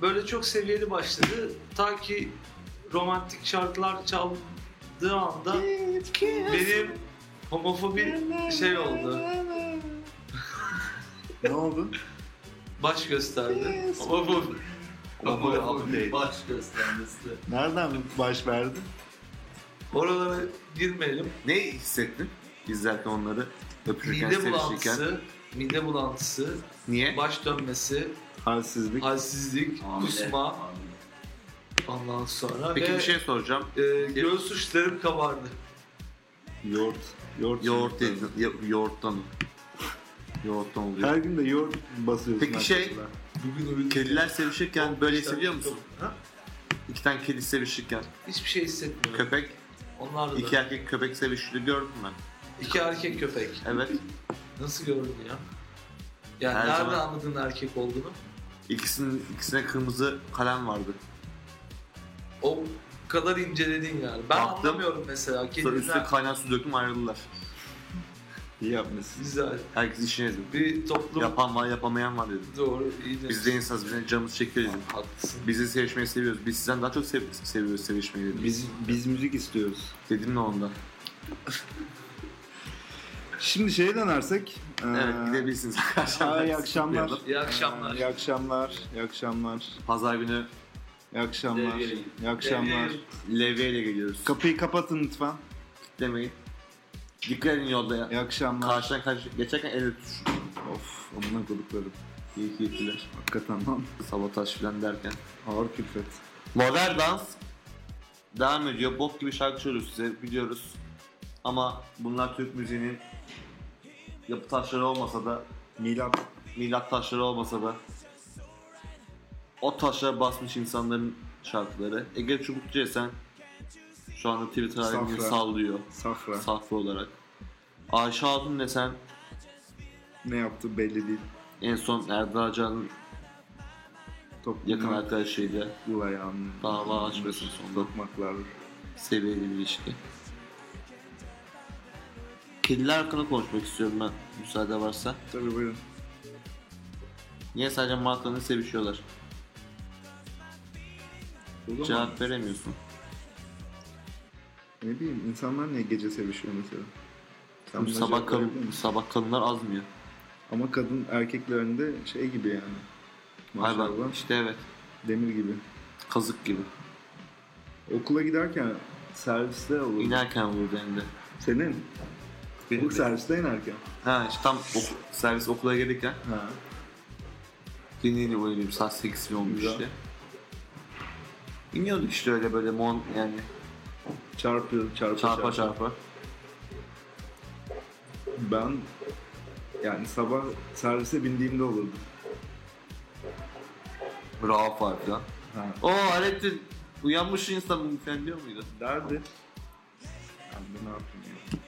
S4: böyle çok seviyeli başladı. Ta ki romantik şarkılar çaldığı anda benim homofobi şey oldu.
S2: ne oldu?
S4: Baş gösterdi. Homofobi.
S1: Homofobi.
S10: Baş göstermesi.
S2: Nereden baş verdi?
S4: Oralara girmeyelim.
S1: Ne hissettin? İzlerken onları öpüşürken,
S4: Mide
S1: sevişirken.
S4: bulantısı, mide bulantısı,
S1: Niye?
S4: baş dönmesi,
S2: Halsizlik.
S4: halsizlik, kusma ondan sonra
S1: Peki
S4: ve
S1: bir şey soracağım.
S4: e, göğüs uçlarım kabardı.
S2: Yoğurt. Yoğurt.
S1: Yoğurt dedin. yo- Yoğurttan. Yoğurttan oluyor.
S2: Her gün de yoğurt basıyorsun.
S1: Peki şey-
S2: arkadaşlar.
S4: Bugün uyudum.
S1: Kediler sevişirken böyle hissediyor
S4: Çok-
S1: musun?
S4: Ha?
S1: İki tane kedi sevişirken.
S4: Hiçbir şey hissetmiyorum.
S1: Köpek.
S4: Onlar da.
S1: iki
S4: İki,
S1: erkek köpek seviştiğini gördün mü?
S4: erkek köpek.
S1: Evet.
S4: Nasıl gördün ya? Yani
S1: Her
S4: nereden
S1: zaman-
S4: anladın erkek olduğunu?
S1: İkisinin ikisine kırmızı kalem vardı.
S4: O kadar inceledin yani. Ben
S1: Baktım.
S4: anlamıyorum mesela.
S1: Sonra
S4: Kediler
S1: üstüne kaynar su döktüm ayrıldılar.
S2: İyi yapmışsın.
S4: güzel.
S1: Herkes işine dedi.
S4: Bir toplum
S1: Yapan var yapamayan var dedim.
S4: doğru. iyi de-
S1: Biz de insanız, bizim de canımız çekiyor dedim.
S4: Haklısın.
S1: Bizi sevişmeyi seviyoruz. Biz sizden daha çok sev- seviyoruz sevişmeyi dedim.
S2: Biz, biz müzik istiyoruz.
S1: Dedim ne onda?
S2: Şimdi şeye dönersek.
S1: Evet
S2: eee,
S1: gidebilirsiniz [laughs] akşamlar.
S2: Ay akşamlar.
S4: İyi akşamlar.
S2: Eee, İyi akşamlar. İyi akşamlar.
S1: Pazar günü
S2: İyi akşamlar.
S10: Devreye.
S2: İyi akşamlar.
S4: Devreye.
S1: levyeyle geliyoruz.
S2: Kapıyı kapatın lütfen.
S1: Demeyin. Dikkat edin yolda ya.
S2: İyi akşamlar.
S1: Karşıdan karşı geçerken el tutuşun.
S2: Of amına koduklarım.
S1: İyi keyifler.
S2: Hakikaten lan.
S1: Sabotaj falan derken.
S2: Ağır külfet.
S1: Modern dans devam ediyor. Bok gibi şarkı söylüyoruz size biliyoruz. Ama bunlar Türk müziğinin yapı taşları olmasa da
S2: Milat.
S1: milat taşları olmasa da o taşlara basmış insanların şarkıları. Ege Çubukçu Esen şu anda Twitter alemini
S2: Safra.
S1: sallıyor.
S2: Safra.
S1: Safra olarak. Ayşe Hatun Esen
S2: ne yaptı belli değil.
S1: en son Erdal Acan'ın yakın
S2: Toplumdan
S1: arkadaşıydı.
S2: kul ayağını
S1: Dava açmasın sonunda.
S2: sokmaklar.
S1: Seviyeli bir ilişki. Kediler hakkında konuşmak istiyorum ben müsaade varsa.
S2: Tabii buyurun.
S1: Niye sadece markalarını sevişiyorlar?
S2: O zaman
S1: Cevap veremiyorsun.
S2: ne bileyim insanlar niye gece sevişiyor mesela? Sen buna
S1: sabah,
S2: cevap verebilir
S1: kadın,
S2: misin?
S1: sabah kadınlar azmıyor.
S2: Ama kadın erkeklerinde şey gibi yani. Maşallah.
S1: Hayvan işte evet.
S2: Demir gibi.
S1: Kazık gibi.
S2: Okula giderken serviste olur.
S1: İnerken vurdu hem de.
S2: Senin.
S1: Benim
S2: Bu
S1: de.
S2: serviste inerken.
S1: Ha işte tam ok- servis okula gelirken
S2: Ha.
S1: dinleyici oynayayım saat 8 mi olmuş
S2: Güzel.
S1: işte. İniyorduk işte öyle böyle mon yani
S2: Çarpıyor, çarpa,
S1: çarpa çarpa.
S2: Ben yani sabah servise bindiğimde olurdu.
S1: Bravo falan filan.
S2: Ha.
S1: Oo Alettin uyanmış insan falan diyor muydu?
S2: Derdi. Ben de ne yapayım ya?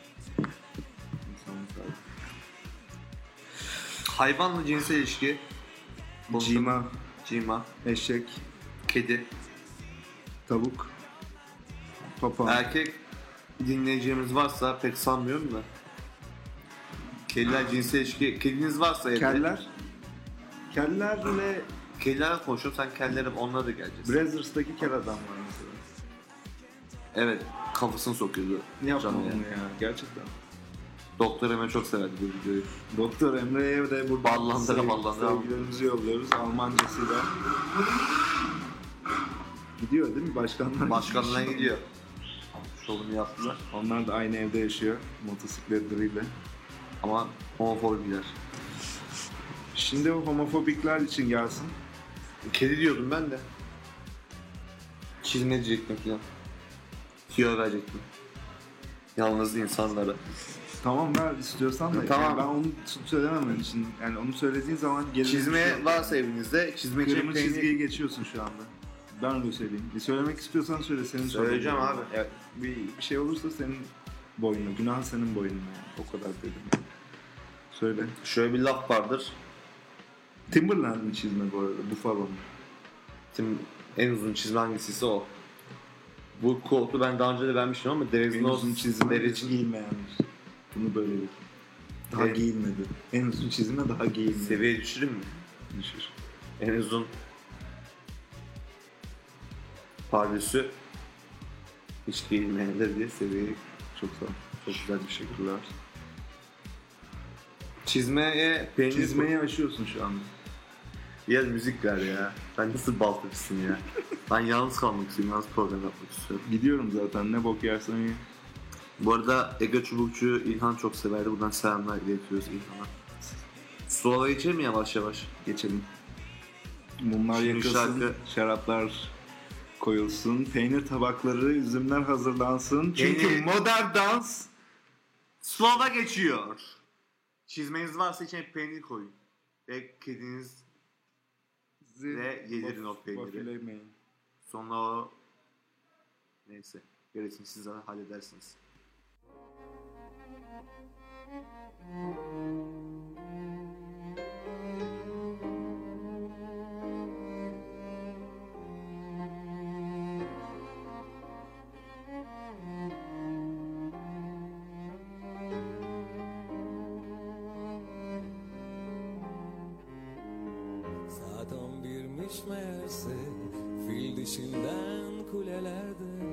S2: İnsanın servisi.
S1: Hayvanla cinsel ilişki. Konuşalım.
S2: Cima,
S1: Cima.
S2: eşek,
S1: Kedi.
S2: tavuk, papağan.
S1: Erkek dinleyeceğimiz varsa pek sanmıyorum da. Kediler cinsel ilişki. Kediniz varsa evde.
S2: keller. Kellerle
S1: Kedilerle konuşuyorum. Sen kellere onlara da geleceksin.
S2: Brazzers'taki kel adam var mesela.
S1: Evet. Kafasını sokuyordu.
S2: Ne yapalım
S1: canlıya.
S2: onu ya gerçekten.
S1: Doktor hemen çok severdi bu videoyu.
S2: Doktor Emre'ye de buradan
S1: Ballandıra
S2: sev-
S1: ballandıra.
S2: sevgilerimizi yolluyoruz Almancasıyla. Gidiyor değil mi başkanlar?
S1: Başkanına gidiyor. Şovunu yaptılar.
S2: Onlar da aynı evde yaşıyor motosikletleriyle.
S1: Ama homofobiler.
S2: Şimdi o homofobikler için gelsin.
S1: Kedi diyordum ben de. Çizme diyecektim falan. Tüyo verecektim. Yalnız insanlara.
S2: Tamam ver istiyorsan da.
S1: Tamam.
S2: Yani ben onu s- söylememen için. Yani onu söylediğin zaman geri
S1: Çizme varsa evinizde çizme
S2: Kırmızı
S1: çizgiyi-
S2: çizgiyi geçiyorsun şu anda. Ben öyle söyleyeyim. Bir söylemek istiyorsan söyle senin sorunun.
S1: Söyleyeceğim abi.
S2: Ya, bir, bir şey olursa senin boynuna. Günah senin boynuna. Yani. O kadar dedim. yani. Söyle.
S1: Şöyle bir laf vardır.
S2: Timberland mi çizme bu arada? Buffalo mu?
S1: Tim en uzun çizme hangisiyse o. Bu koltuğu ben daha önce de vermiştim ama There is
S2: En
S1: no
S2: uzun çizme
S1: there
S2: hiç
S1: is-
S2: giyilmeyenmiş. Bunu böyle bil. Daha
S1: Evet.
S2: giyilmedi. En uzun çizme daha giyilmedi.
S1: Seviye düşüreyim mi?
S2: Düşür.
S1: En uzun pardesü hiç giyilmeyenler diye seviyeyi
S2: Çok sağ ol. Çok güzel teşekkürler.
S1: Çizmeye peynir
S2: Çizmeyi aşıyorsun şu anda.
S1: Ya müzik ver ya. Sen nasıl baltacısın ya? ben yalnız kalmak istiyorum. Yalnız program yapmak istiyorum.
S2: Gidiyorum zaten ne bok yersen ye.
S1: Bu arada Ege Çubukçu İlhan çok severdi. Buradan selamlar iletiyoruz İlhan'a. Slova geçelim mi yavaş yavaş?
S2: Geçelim. Mumlar
S1: Şimdi
S2: yakılsın,
S1: şarkı-
S2: şaraplar koyulsun, peynir tabakları, üzümler hazırlansın. Çünkü
S1: Peynir-
S2: modern dans
S1: Slova geçiyor. Çizmeniz varsa içine peynir koyun. Ve kediniz Ve yedirin o peyniri.
S2: Wafflemeyin.
S1: sonra o... Neyse. Gerisini siz zaten halledersiniz.
S9: Saat on birmiş meğerse Fil dişinden kulelerde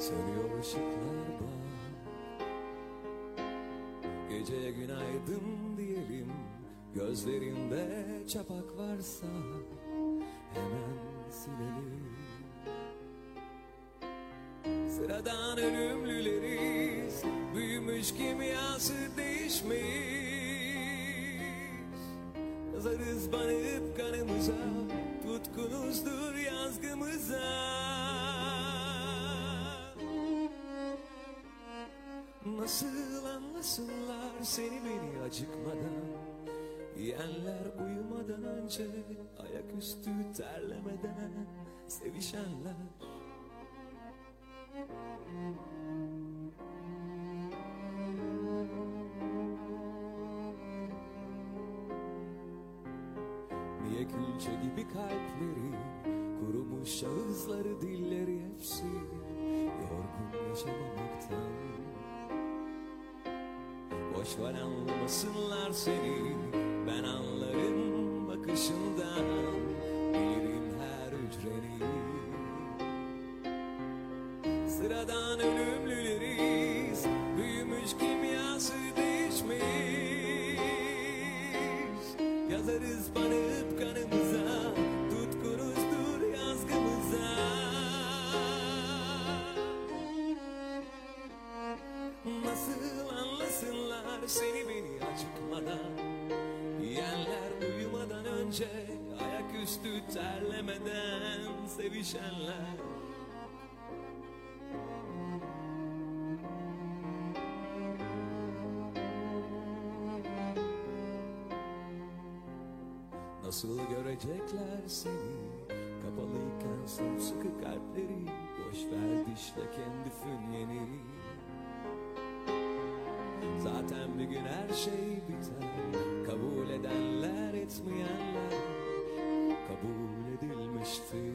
S9: Sönüyor ışıklar bak Geceye günaydın diyelim Gözlerinde çapak varsa Hemen silelim Sıradan ölümlüleriz Büyümüş kimyası değişmiş Yazarız banıp kanımıza Tutkunuzdur yazgımıza Nasıl anlasınlar seni beni acıkmadan
S4: Yiyenler uyumadan önce Ayaküstü terlemeden Sevişenler Niye külçe gibi kalpleri Kurumuş ağızları dilleri hepsi Yorgun yaşamamaktan Boş ver anlamasınlar seni Ben anlarım bakışından Bilirim her hücreni Sıradan ölümlüleriz Büyümüş kimyası değişmiş Yazarız banıp kanımıza Tutkunuzdur yazgımıza Nasıl anlasınlar seni beni acıkmadan Yiyenler uyumadan önce Ayaküstü terlemeden Sevişenler Nasıl görecekler seni Kapalıyken sımsıkı kalpleri Boş ver dişle kendi fünyeni Zaten bir gün her şey biter Kabul edenler etmeyenler Kabul edilmiştir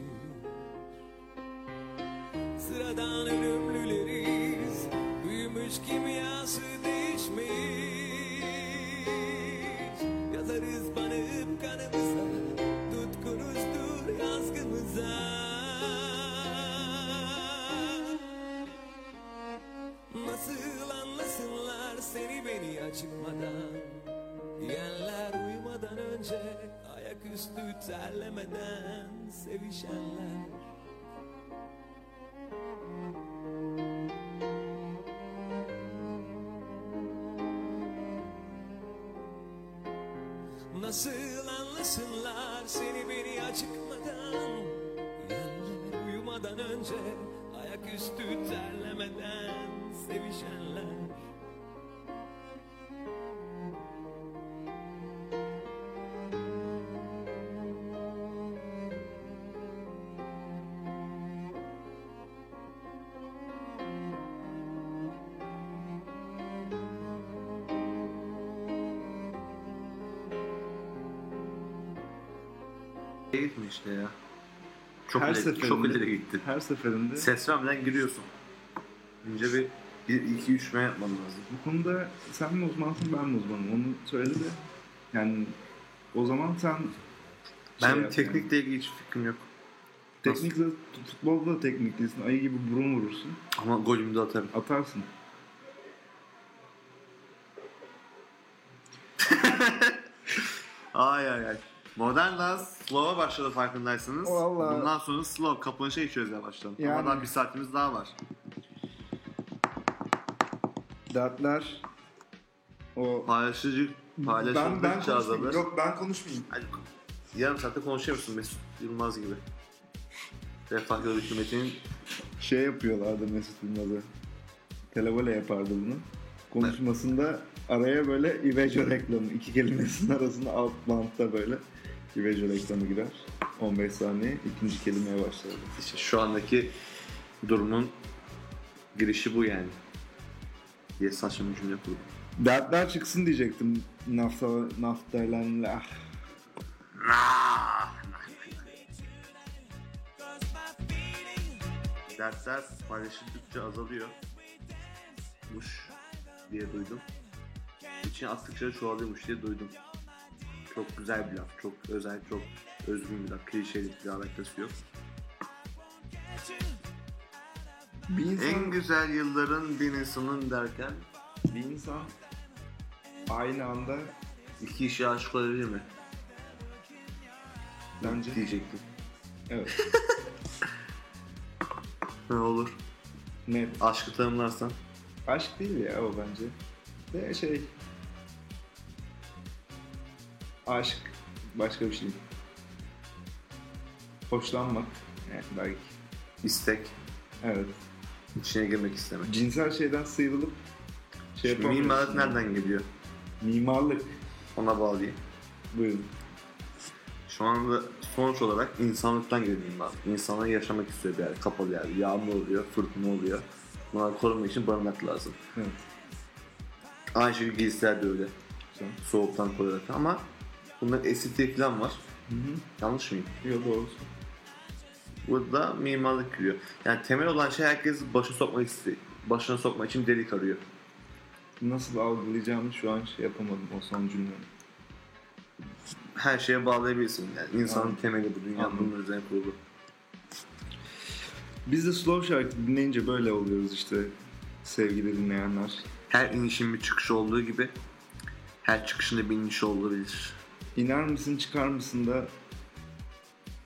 S4: Sıradan ölümlüleriz Büyümüş kimyası değişmiş Yazarız banıp kanımıza Tutkunuzdur yazgımıza Nasıl anlasınlar seni beni acıkmadan Yiyenler uyumadan önce Ayaküstü terlemeden Sevişenler Nasıl anlasınlar seni beni acıkmadan Yerler uyumadan önce Ayaküstü terlemeden Sevişenler
S1: İyi gitme işte ya. Çok,
S2: Her
S1: ileri,
S2: seferinde.
S1: çok ileri gitti.
S2: Her seferinde
S1: Ses vermeden giriyorsun. Önce bir 1-2-3 yapman lazım.
S2: bu konuda sen mi uzmansın ben mi uzmanım onu söyle de yani o zaman sen şey
S1: Ben
S2: yap yani.
S1: teknikle ilgili hiç fikrim yok.
S2: teknik de- futbolda da teknik değilsin ayı gibi burun vurursun
S1: Ama golümü de atarım.
S2: atarsın
S1: Ay ay ay. Modern Dance Slow'a başladı farkındaysanız.
S2: Vallahi.
S1: Bundan sonra Slow şey kapanışa geçiyoruz yavaştan.
S2: Yani.
S1: Ama daha bir saatimiz daha var.
S2: dertler o
S1: Paylaşıcı, paylaşıcı
S2: ben ben
S1: ben,
S2: konuşmayayım.
S1: azalır.
S2: Yok ben konuşmayayım.
S1: Hadi, yarım saatte konuşuyor musun Mesut Yılmaz gibi? Refah Yolu Hükümeti'nin
S2: Şey yapıyorlardı Mesut Yılmaz'ı. Televole yapardı bunu. Konuşmasında araya böyle İveco reklamı. iki kelimesinin arasında alt bantta böyle İveco reklamı girer. 15 saniye ikinci kelimeye başlardı.
S1: işte şu andaki durumun girişi bu yani. Diye saçma bir cümle kurdum.
S2: Dertler çıksın diyecektim. Nafta, naftalenle. Ah.
S1: Dersler paylaşıldıkça azalıyor. Muş diye duydum. İçine attıkça çoğalıyormuş diye duydum. Çok güzel bir laf. Çok özel, çok özgün bir laf. Klişelik bir alakası yok.
S2: Bir insan,
S1: En güzel yılların bir insanın derken
S2: bir insan aynı anda
S1: iki işe aşık olabilir mi?
S2: bence
S1: Diyecektim.
S2: evet
S1: [laughs] Ne olur.
S2: net.
S1: Aşkı tanımlarsan.
S2: Aşk değil ya o bence. De şey... Aşk başka bir şey. Hoşlanmak. Yani belki.
S1: istek.
S2: Evet.
S1: İçine girmek istemek.
S2: Cinsel şeyden sıyrılıp şey
S1: Şimdi
S2: yapamıyorsun.
S1: mimarlık nereden geliyor?
S2: Mimarlık.
S1: Ona bağlayayım.
S2: Buyurun.
S1: Şu anda sonuç olarak insanlıktan geliyorum ben. İnsanlar yaşamak istiyor bir yer, kapalı yer. Yağmur oluyor, fırtına oluyor. Bunları korumak için barınak lazım.
S2: Evet.
S1: Aynı şekilde giysiler de öyle.
S2: Güzel.
S1: Soğuktan koruyarak ama bunların estetiği falan var. Yanlış mıyım?
S2: Yok doğru.
S1: Burada mimarlık giriyor. Yani temel olan şey herkes başa sokmak iste başına sokmak için delik arıyor.
S2: Nasıl algılayacağımı şu an şey yapamadım o son cümleyi.
S1: Her şeye bağlayabilirsin. Yani insanın
S2: Anladım.
S1: temeli bu dünya
S2: Anladım.
S1: bunun üzerine kurulu.
S2: Biz de slow şarkı dinleyince böyle oluyoruz işte sevgili dinleyenler.
S1: Her inişin bir çıkışı olduğu gibi her çıkışında bir iniş olabilir.
S2: İner misin çıkar mısın da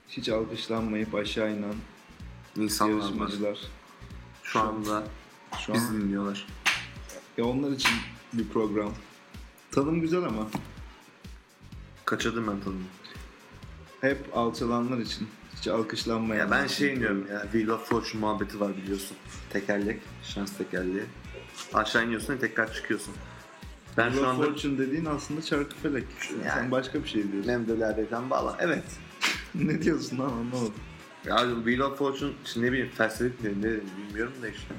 S2: hiç alkışlanmayıp aşağı inen
S1: İnsanlar var.
S2: yarışmacılar.
S1: Şu anda
S2: Şu
S1: bizi
S2: an
S1: dinliyorlar.
S2: ya onlar için bir program. Tanım güzel ama
S1: Kaçırdım ben tanımı.
S2: hep alçalanlar için. Hiç alkışlanmayan.
S1: Ya ben şey iniyorum ya. Wheel of Fortune muhabbeti var biliyorsun. Tekerlek, şans tekerleği. Aşağı iniyorsun tekrar çıkıyorsun. Ben şu
S2: Wheel of
S1: anda
S2: Fortune dediğin aslında çarkı felek. Sen
S1: Yani.
S2: başka bir şey diyorsun.
S1: Memdölerden bağla. Evet.
S2: [laughs] ne diyorsun lan anlamadım.
S1: Ya Wheel of Fortune işte ne bileyim felsefik ne, ne bilmiyorum da işte.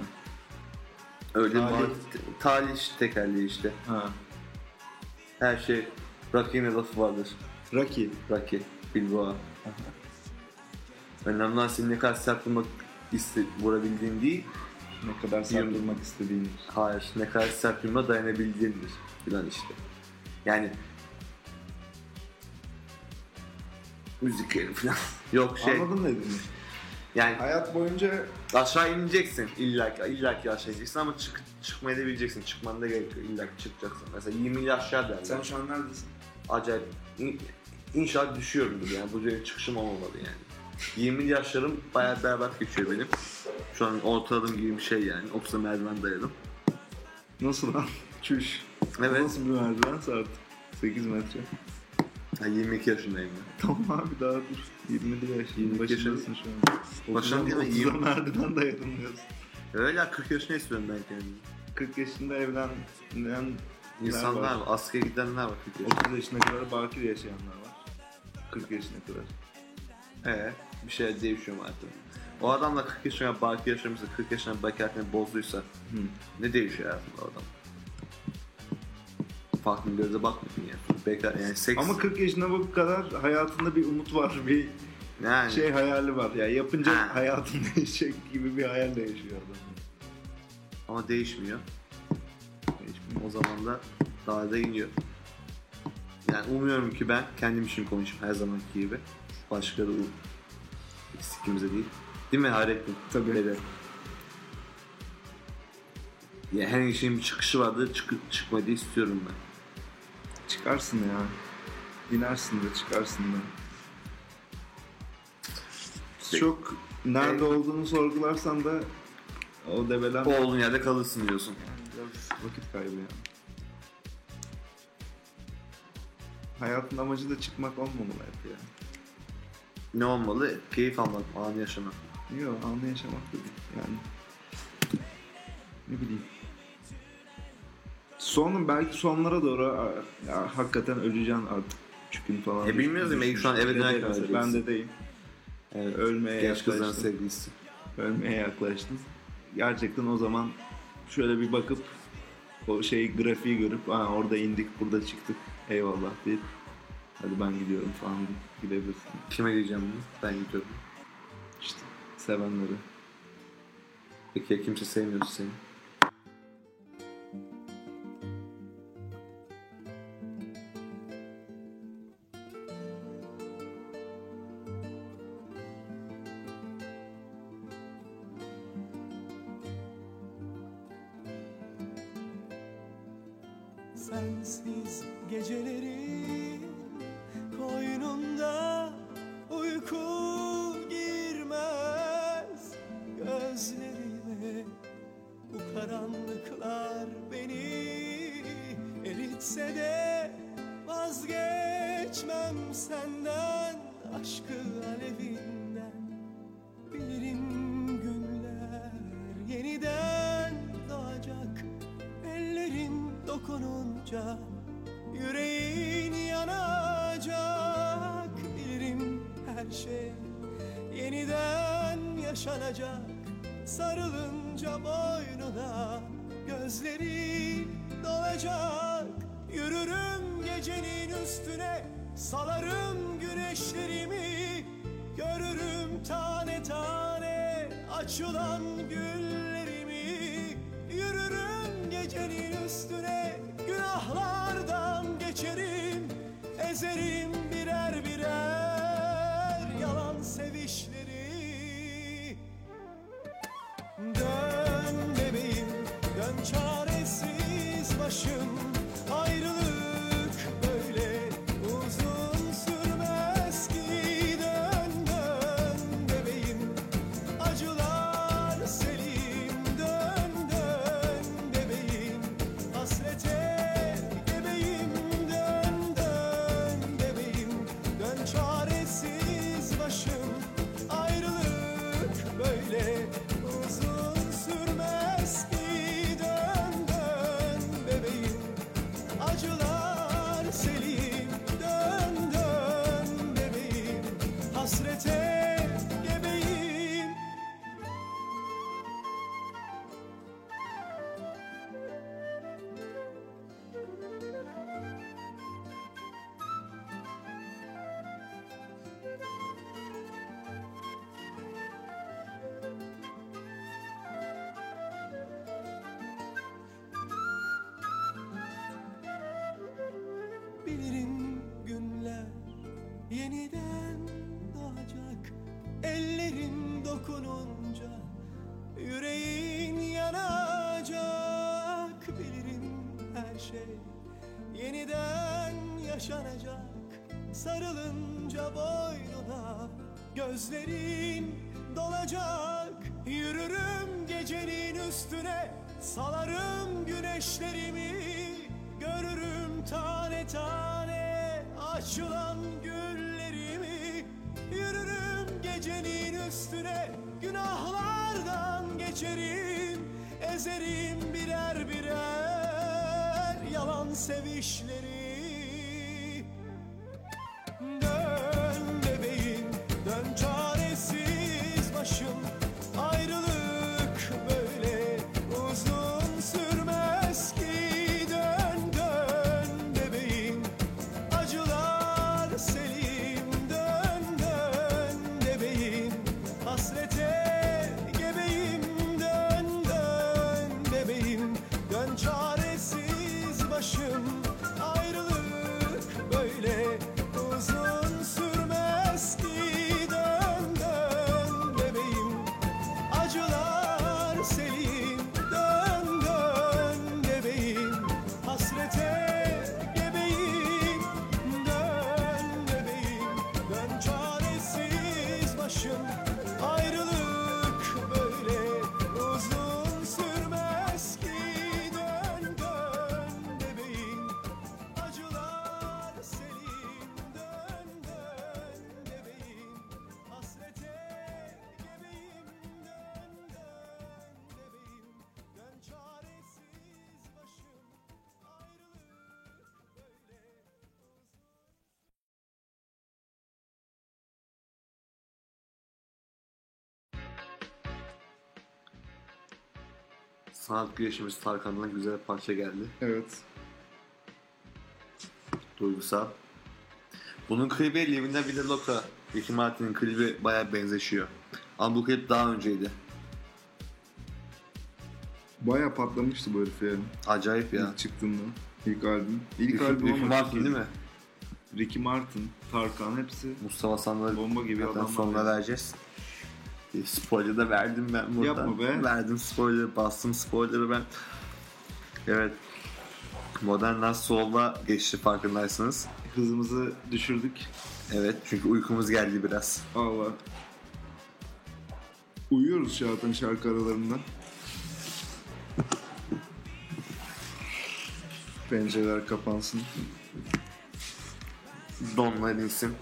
S1: Öyle
S2: Talih.
S1: talih. talih işte, tekerleği işte.
S2: Ha.
S1: Her şey Rocky'nin lafı vardır.
S2: Rocky.
S1: Rocky, Bilboğa. Önemli olan senin ne kadar sert vurmak iste, vurabildiğin değil,
S2: Ne kadar sardırmak istediğini.
S1: hayır ne kadar sert vurma dayanabildiğindir filan işte. Yani müzik yeri filan. [laughs] Yok şey,
S2: Anladın ne dediğini.
S1: yani
S2: Hayat boyunca
S1: Aşağı ineceksin illa ki, illa ki aşağı ineceksin ama çık, çıkmayı da bileceksin. Çıkman da gerekiyor illa ki çıkacaksın. Mesela 20 yıl aşağı derler.
S2: sen şu an neredesin?
S1: Acayip. İn, inşallah düşüyorumdur yani. Bu benim çıkışım olmalı yani. 20 yaşlarım bayağı berbat geçiyor benim. Şu an ortaladığım gibi bir şey yani. Okusa merdiven dayadım.
S2: Nasıl lan? [laughs] Çüş.
S1: Evet.
S2: Nasıl bir merdiven sardı? 8 metre.
S1: Ha, 22 yaşındayım ben.
S2: [laughs] Tamam abi daha dur. 20'li yaş. 20
S1: yaşındasın.
S2: başındasın şu an.
S1: Başına
S2: 30'a
S1: değil mi?
S2: 30'a
S1: İyi.
S2: merdiven dayadım diyorsun.
S1: Öyle 40 yaşına istiyorum ben kendimi.
S2: 40 yaşında evlenen
S1: İnsanlar var. Askere gidenler var 40 yaşında.
S2: 30 yaşına kadar bakir yaşayanlar var. 40 yaşına kadar.
S1: Ee, bir şey değişiyor mu artık. O adamla 40 yaşına baki yaşamışsa, 40 yaşına bakarken bozduysa ne değişiyor hayatında o adam? Farklı bir göze bakmıyorsun yani. Bekar, yani seks,
S2: Ama 40 yaşına bu kadar hayatında bir umut var, bir
S1: yani,
S2: şey hayali var. Ya yapınca
S1: Ha.
S2: hayatın [laughs] değişecek gibi bir hayal değişiyor adam.
S1: ama değişmiyor.
S2: Değişmiyor.
S1: O zaman da daha da iniyor. Yani umuyorum ki ben kendim için konuşayım her zamanki gibi. Başka da u- eksikimize değil. Değil mi Hayrettin?
S2: Tabii.
S1: Beyler. Ya her işin bir çıkışı vardı. Çık çıkmayı da istiyorum ben.
S2: Çıkarsın ya. İnersin de çıkarsın da. Çok nerede olduğunu sorgularsan da o develenme
S1: O olduğun yerde kalırsın diyorsun.
S2: Biraz vakit kaybı ya. Hayatın amacı da çıkmak olmamalı hep ya.
S1: Ne olmalı? Keyif almak, anı yaşamak.
S2: Yok anı yaşamak dedik yani. Ne bileyim. Son, belki sonlara doğru a- ya, hakikaten öleceksin artık. Çükün falan.
S1: E, bilmiyoruz ya, belki şu an eve
S2: Dedeyim
S1: dönerken
S2: mesela, Ben
S1: öleceksin.
S2: dedeyim.
S1: Evet.
S2: Ölmeye
S1: Genç kızların
S2: yaklaştım.
S1: sevgilisi.
S2: Ölmeye yaklaştım. Gerçekten o zaman şöyle bir bakıp o şey grafiği görüp Aa, orada indik burada çıktık eyvallah deyip hadi ben gidiyorum falan deyip gidebilirsin.
S1: Kime diyeceğim bunu? Ben gidiyorum.
S2: İşte sevenleri.
S1: Peki ya kimse sevmiyorsa seni?
S9: Sensiz geceleri koynumda uyku girmez gözlerime bu karanlıklar beni eritse de vazgeçmem senden aşkı alevinden bilirim günler yeniden doğacak ellerin dokununca yüreğin yanacak olacak Bilirim her şey Yeniden yaşanacak Sarılınca boynuna Gözleri dolacak Yürürüm gecenin üstüne Salarım güneşlerimi Görürüm tane tane Açılan güllerimi Yürürüm gecenin üstüne Günahlardan geçerim Ezerim birer birer Yalan sevişleri Dön bebeğim, dön çaresiz başım Ayrılık böyle uzun sürmez ki Dön dön bebeğim, acılar selim Dön dön bebeğim, hasrete gebeyim Dön dön bebeğim, dön çaresiz başım Ayrılık böyle uzun sürmez ki Dön dön bebeğim acılar selim Dön dön bebeğim hasrete gebeyim Bilirim günler yeniden doğacak Ellerin dokununca yüreğin yanacak Bilirim her şey yeniden yaşanacak Sarılınca boynuna gözlerin dolacak Yürürüm gecenin üstüne salarım güneşlerimi Görürüm tane tane açılan güllerimi Yürürüm gecenin üstüne günahlardan geçerim Ezerim birer birer yalan sevişleri Dön bebeğim, dön çaresiz başım Ayrılık böyle uzun sürmez ki Dön dön bebeğim, acılar selim Dön dön bebeğim, hasrete gebeyim Dön dön bebeğim, dön çaresiz başım Ayrılık böyle uzun sürmez ki Dön dön bebeğim acılar selim Dön dön bebeğim hasrete gebeyim Dön bebeğim dön çaresiz başım Ayrılık böyle uzun sürmez ki Dön dön bebeğim Acılar selim dön dön bebeğim Hasrete gebeyim dön dön bebeğim Dön çaresiz başım ayrılık böyle
S1: Sanat girişimiz Tarkan'dan güzel bir parça geldi.
S2: Evet.
S1: Duygusal. Bunun klibi Livina Vida Loca. Ricky Martin'in klibi baya benzeşiyor. Ama bu klip daha önceydi.
S2: Bayağı patlamıştı bu herif ya.
S1: Acayip ya.
S2: İlk çıktığında. İlk albüm. İlk
S1: Ricky,
S2: albüm
S1: Ricky
S2: ama-
S1: Martin değil mi?
S2: Ricky Martin, Tarkan hepsi
S1: Mustafa Sandal'ı
S2: bomba gibi
S1: Zaten
S2: adamlar.
S1: sonuna
S2: ya.
S1: vereceğiz. E, Spoiler da verdim ben buradan.
S2: Yapma be.
S1: Verdim spoiler, bastım spoiler'ı ben. Evet. Modern Last Soul'a geçti farkındaysanız.
S2: Hızımızı düşürdük.
S1: Evet çünkü uykumuz geldi biraz.
S2: Allah. Uyuyoruz zaten şarkı
S1: [laughs]
S2: aralarında. Pencereler kapansın.
S1: Donlar insin.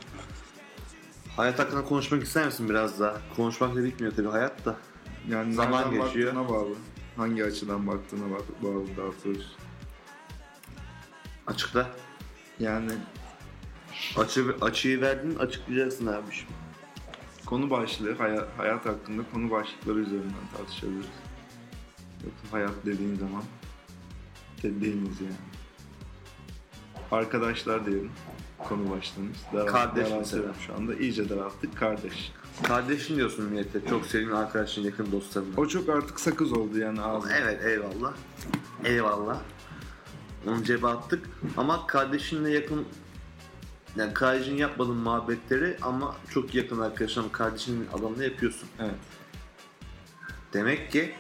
S1: Hayat hakkında konuşmak ister misin biraz daha? Konuşmak da bitmiyor tabii hayat da.
S2: Yani
S1: Zaman
S2: nereden
S1: geçiyor.
S2: baktığına bağlı. Hangi açıdan baktığına bak- bağlı daha doğrusu.
S1: Açıkta.
S2: Yani
S1: Açı, açıyı verdin açıklayacaksın abi. şimdi.
S2: Konu başlığı, haya- hayat hakkında konu başlıkları üzerinden tartışabiliriz. Yoksa hayat dediğin zaman Ted değiliz yani. Arkadaşlar diyelim konu başlığımız. Daral-
S1: Kardeş
S2: daraltıyorum
S1: mesela.
S2: Şu anda iyice daralttık kardeş.
S1: Kardeşin diyorsun niyette. Çok sevdiğin arkadaşın yakın dostlarına.
S2: O çok artık sakız oldu yani ağzı.
S1: Evet eyvallah. Eyvallah. Onu cebe attık. Ama kardeşinle yakın yani kardeşin yapmadığın muhabbetleri ama çok yakın arkadaşın kardeşinin adamla yapıyorsun.
S2: Evet.
S1: Demek ki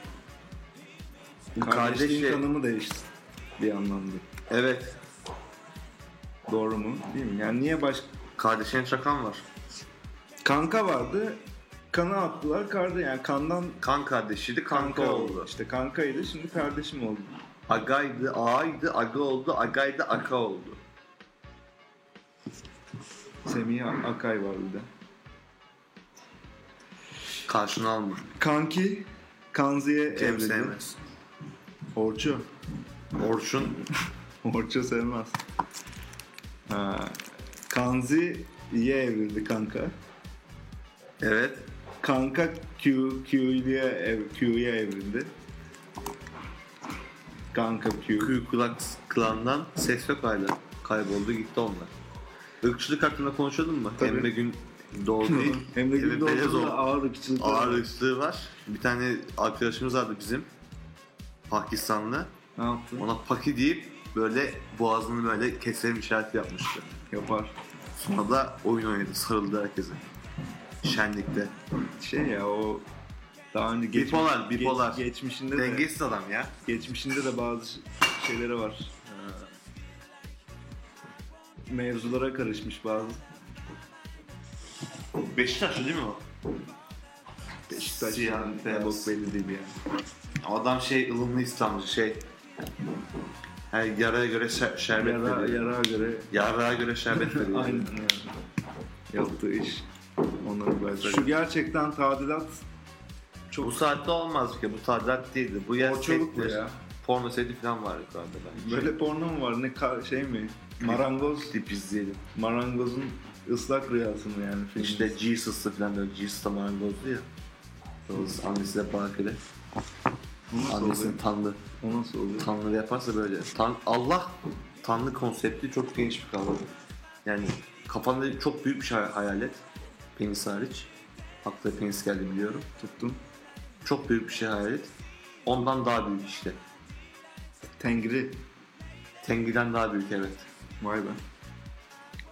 S1: bu
S2: Kardeşliğin
S1: kardeşle
S2: tanımı değişti bir anlamda.
S1: evet
S2: Doğru mu? Değil mi? Yani niye baş
S1: kardeşine çakan var.
S2: kanka vardı? Kana attılar kardeş yani kandan
S1: Kan kardeşiydi kanka,
S2: kanka
S1: oldu.
S2: oldu. İşte kankaydı şimdi kardeşim oldu.
S1: Agaydı, ağaydı, aga oldu, agaydı, aka oldu.
S2: Semih Akay var bir de.
S1: Karşına alma.
S2: Kanki Kanzi'ye
S1: Cem
S2: evrildi.
S1: sevmez.
S2: Orçu.
S1: Orçun
S2: Orçu sevmez. Ha. Kanzi'ye evrildi kanka.
S1: evet
S2: Kanka Q, Q'ye, ev, Q'ye evrildi. Kanka Q.
S1: Kuyu Kulak klandan ses yok hala. Kayboldu gitti onlar. Irkçılık hakkında konuşalım mı?
S2: Tabii.
S1: Emre Gün doğru değil.
S2: Hem de günde
S1: Evet, Belezoğlu.
S2: olduğunda ağır ırkçılık.
S1: Ağır ırkçılığı var. Bir tane arkadaşımız vardı bizim. Pakistanlı.
S2: Ne yaptı?
S1: Ona Paki deyip böyle boğazını böyle keserim işareti yapmıştı.
S2: Yapar.
S1: Sonra da oyun oynadı. Sarıldı herkese. Şenlikte.
S2: Şey ya o daha önce geçmiş-
S1: Bipolar, bipolar.
S2: geç- geçmişinde de
S1: Dengesiz adam ya.
S2: geçmişinde de bazı şeyleri var. Ee, Mevzulara karışmış bazı.
S1: Beşiktaşlı değil mi o?
S2: Beşiktaş
S1: Siyah,
S2: yani,
S1: beyaz.
S2: bok belli değil yani.
S1: Adam şey ılımlı İslamcı şey. Her yaraya göre şer- şerbet
S2: Yara,
S1: veriyor.
S2: yara göre
S1: Yarrağa göre
S2: [laughs]
S1: şerbet veriyor.
S2: aynen yani. Yaptığı iş. Onları böyle. Şu gerçekten tadilat
S1: Çok- Bu saatte olmaz ki. Bu tadilat değildi. Bu yer
S2: Borçoluk bu
S1: settir.
S2: ya.
S1: Porno seti falan var yukarıda bence.
S2: Böyle porno mu var ne ka- şey mi? Marangoz,
S1: Dip izleyelim.
S2: marangozun ıslak rüyası mı yani film?
S1: İşte Jesus'ı falan böyle Jesus da marangozdu ya. Doğrusu annesi de bakire.
S2: Bu nasıl oluyor?
S1: Annesini tanrı.
S2: O nasıl oluyor?
S1: Tanrı yaparsa böyle. Tan Allah tanrı konsepti çok geniş bir kavram. Yani kafanda çok büyük bir şey hayal et. Penis hariç. Akla penis geldi biliyorum.
S2: Tuttum.
S1: Çok büyük bir şey hayal et. Ondan daha büyük işte.
S2: Tengri.
S1: Tengi'den daha büyük evet.
S2: Vay be.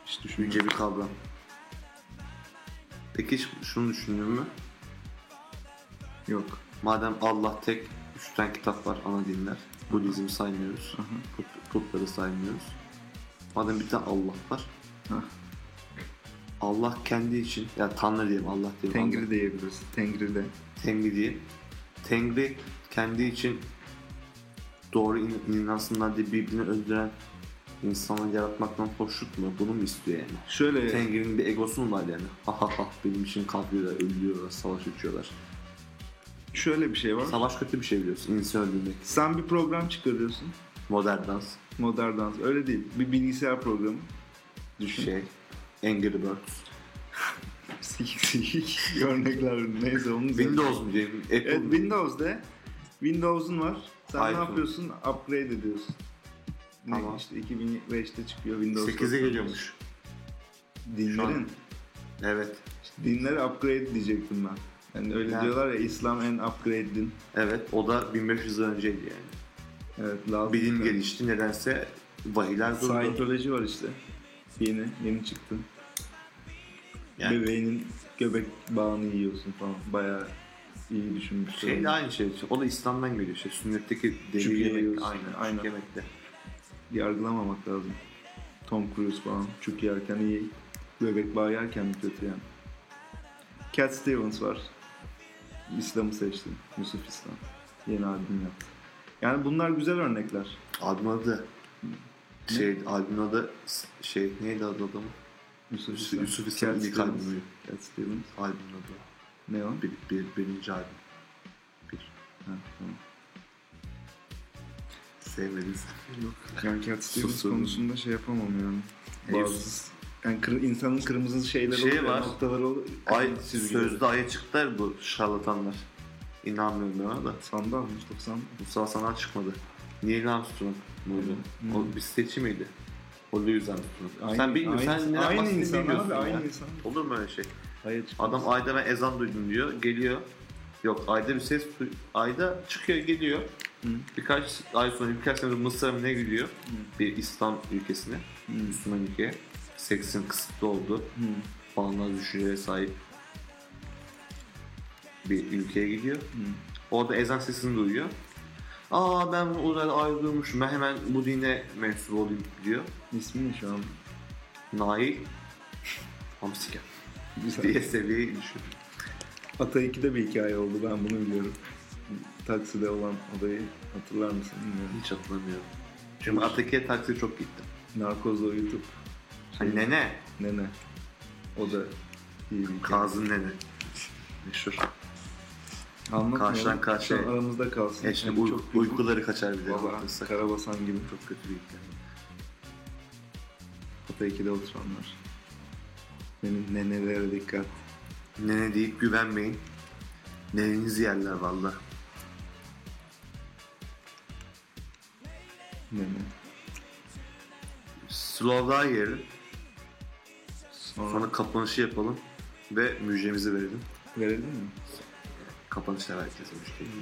S1: Hiç düşününce bir kavram. Peki hiç şunu düşündün mü?
S2: Yok.
S1: Madem Allah tek, üç tane kitap var ana dinler. Budizm saymıyoruz. Put, putları saymıyoruz. Madem bir tane Allah var.
S2: Hı.
S1: Allah kendi için, ya Tanrı diyeyim Allah diyeyim. Allah-
S2: Tengri diyebiliriz. Tengri de.
S1: Tengri diyeyim. Tengri kendi için doğru in- inansınlar diye birbirini öldüren insanları yaratmaktan hoşnut mu? Bunu mu istiyor yani?
S2: Şöyle
S1: Tengri'nin bir egosu mu var yani? Ha ha ha benim için kalkıyorlar, ölüyorlar, savaş açıyorlar.
S2: şöyle bir şey var.
S1: Savaş kötü bir şey biliyorsun. İnsan öldürmek.
S2: Sen bir program çıkarıyorsun.
S1: Modern dans.
S2: Modern dans. Öyle değil. Bir bilgisayar programı. Düşün.
S1: Şey. Angry Birds.
S2: Sikik sikik [laughs] örnekler. Neyse onun üzerine.
S1: Windows mu diyeyim? Apple
S2: Evet
S1: mu?
S2: Windows de. Windows'un var. Sen ne
S1: iPhone.
S2: yapıyorsun? Upgrade ediyorsun. Ne
S1: Tamam.
S2: işte 2005'te çıkıyor Windows.
S1: 8'e geliyormuş. Şu an-
S2: Dinlerin.
S1: Evet.
S2: İşte dinlere upgrade diyecektim ben. Yani öyle
S1: Yani.
S2: diyorlar ya İslam en upgrade din.
S1: Evet. O da 1500 yıl önceydi yani.
S2: Evet lazım.
S1: Bilim gelişti. Nedense vahiyler durdu.
S2: Scientology var işte. Yeni, yeni çıktı.
S1: Yani-
S2: Bebeğinin göbek bağını yiyorsun falan. Bayağı iyi düşünmüşler.
S1: Şey de aynı şey. O da İslam'dan geliyor. Şey, sünnetteki
S2: Çünkü
S1: deli yemek.
S2: yiyorsun.
S1: Aynen.
S2: Aynen.
S1: Aynen. Yemekte.
S2: Yargılamamak lazım. Tom Cruise falan. Çünkü yerken iyi. Göbek bağı yerken mi kötü yani? Cat Stevens var. İslam'ı seçti. Yusuf İslam. Yeni albüm yaptı. Yani bunlar güzel örnekler.
S1: Albüm adı. Şey, albüm adı şey neydi adı adamın?
S2: Yusuf
S1: Yusuf-
S2: İslam.
S1: Yusuf İslam'ın
S2: Cat
S1: ilk
S2: Stevens.
S1: albümü.
S2: Cat Stevens.
S1: Albüm adı.
S2: Ne o?
S1: Bir, bir, birinci albüm. Bir.
S2: Ha, tamam.
S1: Sevmediniz.
S2: Yani Cat Stevens
S1: Susun.
S2: konusunda şey yapamam yani.
S1: Eyüp.
S2: Bazı Yani kır- insanın kırmızı şeyleri
S1: Şey
S2: oluyor,
S1: var.
S2: noktaları oluyor.
S1: Ay,
S2: Sivri
S1: sözde aya çıktılar bu şarlatanlar. İnanmıyorum ben ona da.
S2: Sandal mı? Mustafa Sandal.
S1: Mustafa Sandal çıkmadı. Neil Armstrong buydu. O bir seçim miydi? O Louis Armstrong. sen bilmiyorsun.
S2: Hmm. Aynı,
S1: Sen neden
S2: aynı
S1: bahsettiğini
S2: insan
S1: bilmiyorsun
S2: abi
S1: ya.
S2: aynı insan.
S1: Olur mu öyle şey?
S2: Hayır çıkmaz.
S1: Adam ayda ben ezan duydum diyor. Geliyor. Yok ayda bir ses duy- ayda çıkıyor geliyor. Birkaç ay sonra birkaç sene sonra Mısır'a mı ne gidiyor? Bir İslam ülkesine. Müslüman ülkeye. Seksin kısıtlı oldu. Bağımlar düşünceye sahip bir ülkeye gidiyor. Orada ezan sesini duyuyor. Aa ben bunu uzayda ayrılmışım. Ben hemen bu dine mensup olayım diyor.
S2: İsmi ne şu an?
S1: Nail [laughs] Amsiken diye seviyeye düşüyor.
S2: [laughs] Ata 2'de bir hikaye oldu ben bunu biliyorum. Takside olan odayı hatırlar mısın bilmiyorum.
S1: Hiç hatırlamıyorum. Çünkü Ataki'ye taksiye çok gittim.
S2: Narkozla uyutup
S1: Hani nene.
S2: nene. O da iyi bir hikaye.
S1: Kazım nene. şey. Meşhur.
S2: Anlatmayalım.
S1: Karşıdan karşıya.
S2: Şu an Aramızda kalsın.
S1: E şimdi
S2: Yani
S1: uy-
S2: çok kötü.
S1: uykuları kaçar bir de.
S2: Valla
S1: Bakırsak.
S2: karabasan gibi çok kötü bir hikaye. Ata 2'de oturanlar. Benim nenelere dikkat.
S1: Nene deyip güvenmeyin. Nenenizi yerler valla.
S2: Nene.
S1: Slovak'a yerim.
S2: Sonra,
S1: Sonra kapanışı yapalım. Ve müjdemizi verelim.
S2: verelim mi?
S1: Kapanışlar herkese müjdeyi.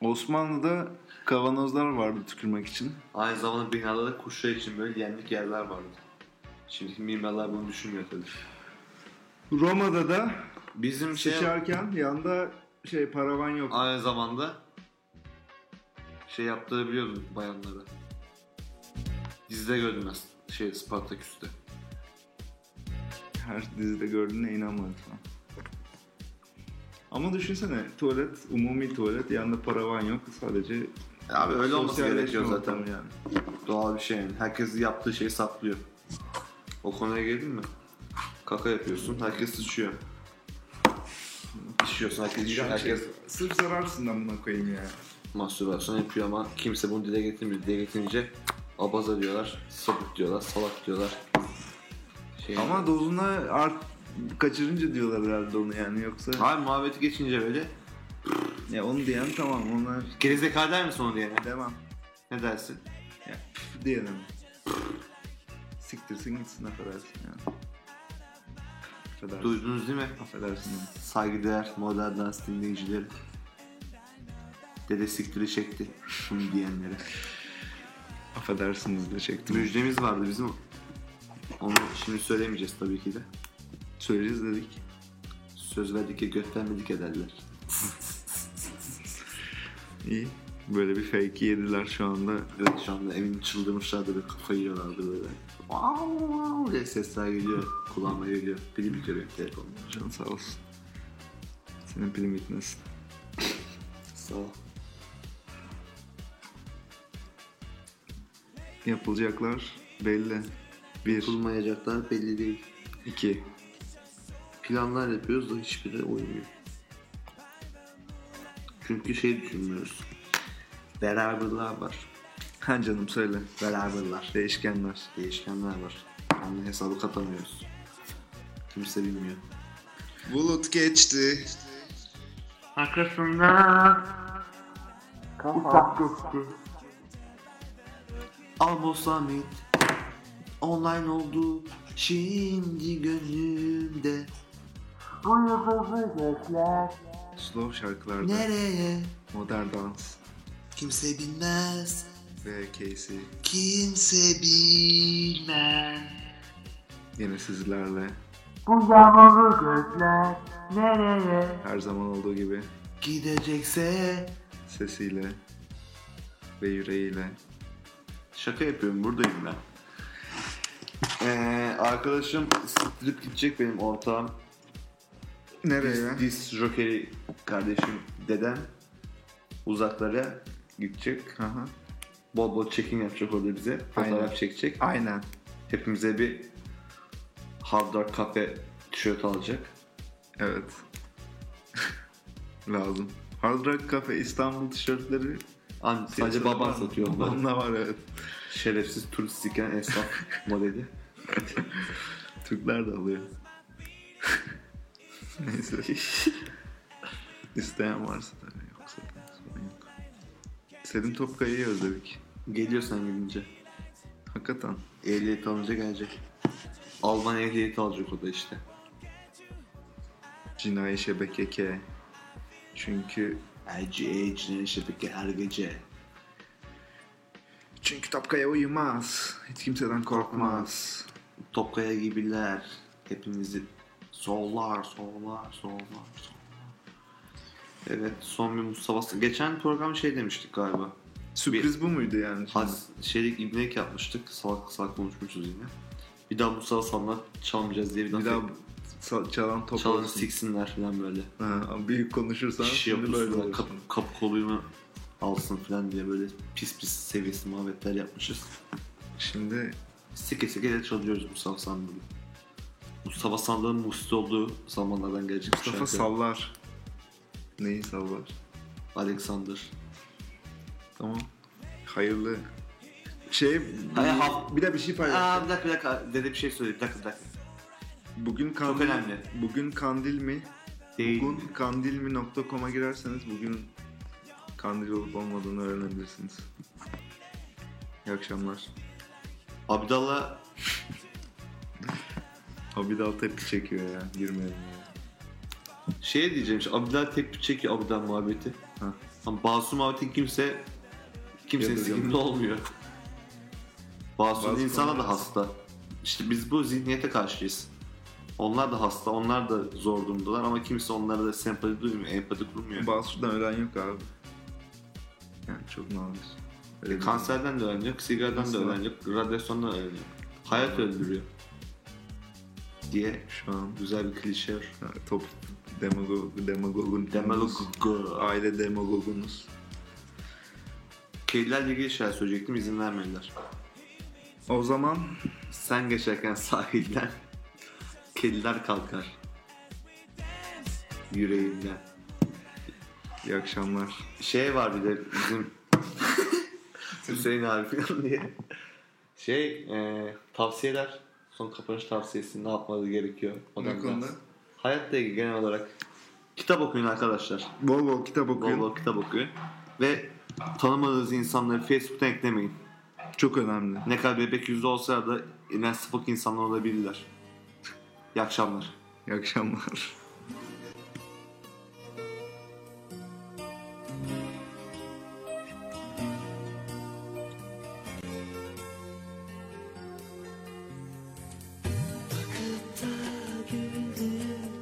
S2: Osmanlı'da kavanozlar vardı tükürmek için.
S1: Aynı zamanda binada da kuşlar için böyle yenlik yerler vardı. Şimdiki mimarlar bunu düşünmüyor tabii.
S2: Roma'da da
S1: Bizim şey
S2: sıçarken yanda şey paravan yok.
S1: aynı zamanda şey yaptırabiliyordum bayanlara. Dizide gördüm ben. Şey Spartaküs'te.
S2: Her dizide gördüğüne inanmadım şu an. Ama düşünsene tuvalet, umumi tuvalet, yanında paravan yok sadece
S1: Abi öyle olması
S2: sosyalleşme
S1: gerekiyor zaten.
S2: ortamı yani.
S1: Doğal bir şey yani. Herkes yaptığı şeyi saklıyor. O konuya girdin mi? Kaka yapıyorsun, herkes sıçıyor. İşiyorsun, herkes işiyor, herkes
S2: Sırf zararsın amına koyayım ya.
S1: mastürbasyon yapıyor ama kimse bunu dile getirmiyor. Dile getirince abaza diyorlar, sapık diyorlar, salak diyorlar. Şey,
S2: Ama dozuna art kaçırınca diyorlar herhalde onu yani yoksa
S1: Hayır muhabbeti geçince böyle
S2: ya onu diyen tamam onlar
S1: gerizekalı der misin onu diyene?
S2: devam
S1: Ne dersin?
S2: ya püf diyelim. Siktirsin gitsin affedersin yani. Affedersin.
S1: Duydunuz değil mi?
S2: Affedersin.
S1: Saygıdeğer modern dans dinleyicileri. Dede siktiri çekti. Şunu diyenlere.
S2: Affedersiniz de çektim.
S1: Müjdemiz vardı bizim. Onu şimdi söylemeyeceğiz tabii ki de.
S2: Söyleyeceğiz dedik.
S1: Söz verdik ki göstermedik ederler.
S2: İyi. Böyle bir fake'i yediler şu anda.
S1: Evet şu anda emin çıldırmışlardı böyle kafayı yiyorlardı böyle. Wow diye sesler geliyor. Kulağıma geliyor. Pili bitiyor benim telefonum.
S2: Can sağ olsun. Senin pilim bitmesin.
S1: Sağ ol.
S2: Yapılacaklar belli. Bir,
S1: Yapılmayacaklar belli değil.
S2: iki.
S1: Planlar yapıyoruz da hiçbiri uymuyor. Çünkü şey düşünmüyoruz. Beraberler var.
S2: Ha canım söyle.
S1: Beraberler.
S2: Değişkenler.
S1: Değişkenler var. Onun hesabı katamıyoruz. Kimse bilmiyor.
S2: Bulut geçti.
S1: Abo Summit online oldu şimdi gönlümde
S2: Slow şarkılarda
S1: nereye
S2: modern dans
S1: kimse bilmez
S2: ve Casey
S1: kimse bilmez
S2: yine sizlerle her zaman olduğu gibi
S1: gidecekse
S2: sesiyle ve yüreğiyle
S1: şaka yapıyorum buradayım ben ee, arkadaşım strip gidecek benim ortağım Dis,
S2: nereye?
S1: dis jokeri kardeşim dedem uzaklara gidecek
S2: Aha.
S1: bol bol çekim yapacak orada bize fotoğraf
S2: Aynen.
S1: çekecek
S2: Aynen.
S1: Hepimize bir Hard Rock Cafe tişört alacak.
S2: Evet. Lazım. Hard Rock Cafe İstanbul tişörtleri
S1: An sadece
S2: piyasada
S1: baban
S2: var.
S1: satıyor onları.
S2: Babamda var evet.
S1: Şerefsiz turist iken esnaf [laughs] modeli.
S2: Türkler de alıyor. [laughs] Neyse.
S1: [laughs]
S2: İsteyen varsa tabii yoksa da sorun yok. Selim Topkayı'yı özledik.
S1: Geliyorsan gidince.
S2: Hakikaten.
S1: Ehliyet alınca gelecek. Alman ehliyeti alacak o da işte.
S2: Cinayi şebeke K. Çünkü...
S1: LGA cinayet şebeke her gece.
S2: Çünkü Topkaya uyumaz. Hiç kimseden korkmaz.
S1: Topkaya gibiler. Hepinizi sollar, sollar, sollar, sollar. Evet son bir Mustafa. Geçen program şey demiştik galiba.
S2: Sürpriz bu muydu yani? şimdi?
S1: Has, şeylik ibnek yapmıştık. Salak salak konuşmuşuz yine. Bir daha Musa San'la çalmayacağız diye bir,
S2: Bir daha
S1: daha
S2: sa- çalan top
S1: çalın
S2: olsun.
S1: siksinler falan böyle.
S2: Ha, büyük konuşursan
S1: Şişi
S2: şimdi böyle
S1: yapılsınlar,
S2: olur.
S1: kap, kap koluyumu alsın falan diye böyle pis pis seviyesi muhabbetler yapmışız.
S2: Şimdi
S1: Sike sike de çalıyoruz Mustafa San'la. Mustafa San'ların musti olduğu zamanlardan gelecek bir
S2: Mustafa
S1: şarkı.
S2: sallar. Neyi sallar?
S1: Alexander.
S2: Tamam. Hayırlı. Şey,
S1: Hayır, ha-
S2: bir de bir şey
S1: Aa
S2: paylaşacağım.
S1: bir dakika bir dakika dede bir şey söyleyeyim bir dakika bir dakika.
S2: Bugün kandil,
S1: önemli. Ee,
S2: Bugün kandil mi?
S1: Değil.
S2: Bugün kandilmi.com'a girerseniz bugün kandil olup olmadığını öğrenebilirsiniz. İyi akşamlar.
S1: Abdallah
S2: Abidal tepki çekiyor ya. Girmeyelim ya.
S1: Şey diyeceğim işte Abdülhal tepki çekiyor Abdülhal muhabbeti.
S2: Ha.
S1: Ama Basum muhabbeti kimse kimsenin
S2: Yadırgamıyor.
S1: sikimde olmuyor. Basum
S2: Basum
S1: insana
S2: olmaz.
S1: da hasta. İşte biz bu zihniyete karşıyız. Onlar da hasta, onlar da zor durumdalar ama kimse onlara da sempati duymuyor, empati kurmuyor.
S2: Basu'dan ölen yok abi. Yani çok nadir.
S1: E, kanserden de ölen yok, sigaradan da
S2: Nasıl?
S1: ölen yok, radyasyondan ölen yok. Hayat öldürüyor. Diye
S2: Şu an
S1: güzel bir klişe var.
S2: ha, top demagog, demagogun.
S1: Demagog.
S2: Aile demagogunuz.
S1: Kedilerle ilgili şeyler söyleyecektim izin vermediler.
S2: O zaman
S1: Sen geçerken [laughs] sahilden kediler kalkar. Yüreğimden.
S2: iyi akşamlar.
S1: Şey var bir de bizim
S2: [laughs]
S1: Hüseyin abi falan diye. Şey e, tavsiyeler. Son kapanış tavsiyesi ne yapmaları gerekiyor? O
S2: Ne konuda?
S1: Hayatla ilgili genel olarak kitap okuyun arkadaşlar.
S2: Bol bol kitap
S1: Bol
S2: okuyun.
S1: bol kitap okuyun. Ve tanımadığınız insanları Facebook'tan eklemeyin.
S2: Çok önemli.
S1: Ne kadar bebek yüzlü olsa da inan sapık insanlar olabilirler. İyi akşamlar.
S2: İyi akşamlar.
S7: Bakıp da güldüğüm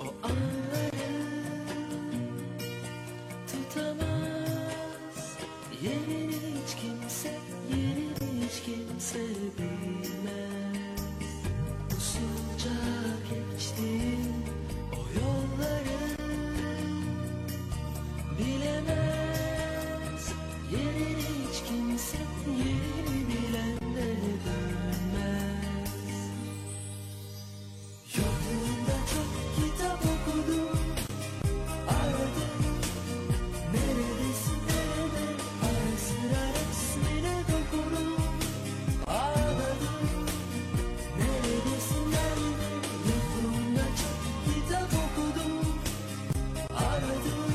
S7: o anları tutamaz yerini hiç kimse, yerini hiç kimse bilmez. Usulca geçtiğim o yolları bilemez yerini hiç kimse, yerini bilen de bilmez. Yolunda çok kitap okudum Aradım Neredesin nerede Ara sıra resmine dokundum Ağladım Neredesin nerede Yolunda çok kitap okudum Aradım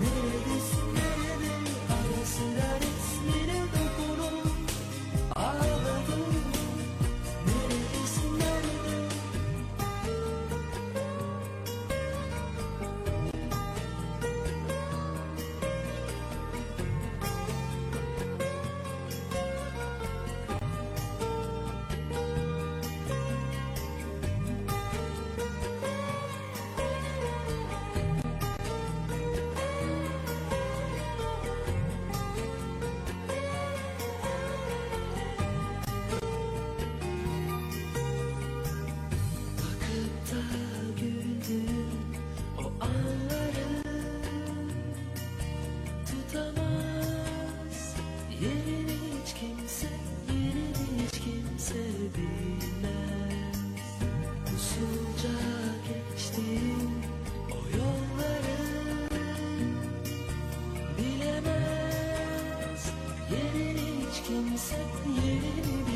S7: Neredesin nerede Ara sıra resmine dokundum Ağladım Neredesin nerede Bakıp da güldüğüm o anları tutamaz Yerini hiç kimse, yerini hiç kimse bilmez Usulca geçtiğim o yolları bilemez Yerini hiç kimse, yerini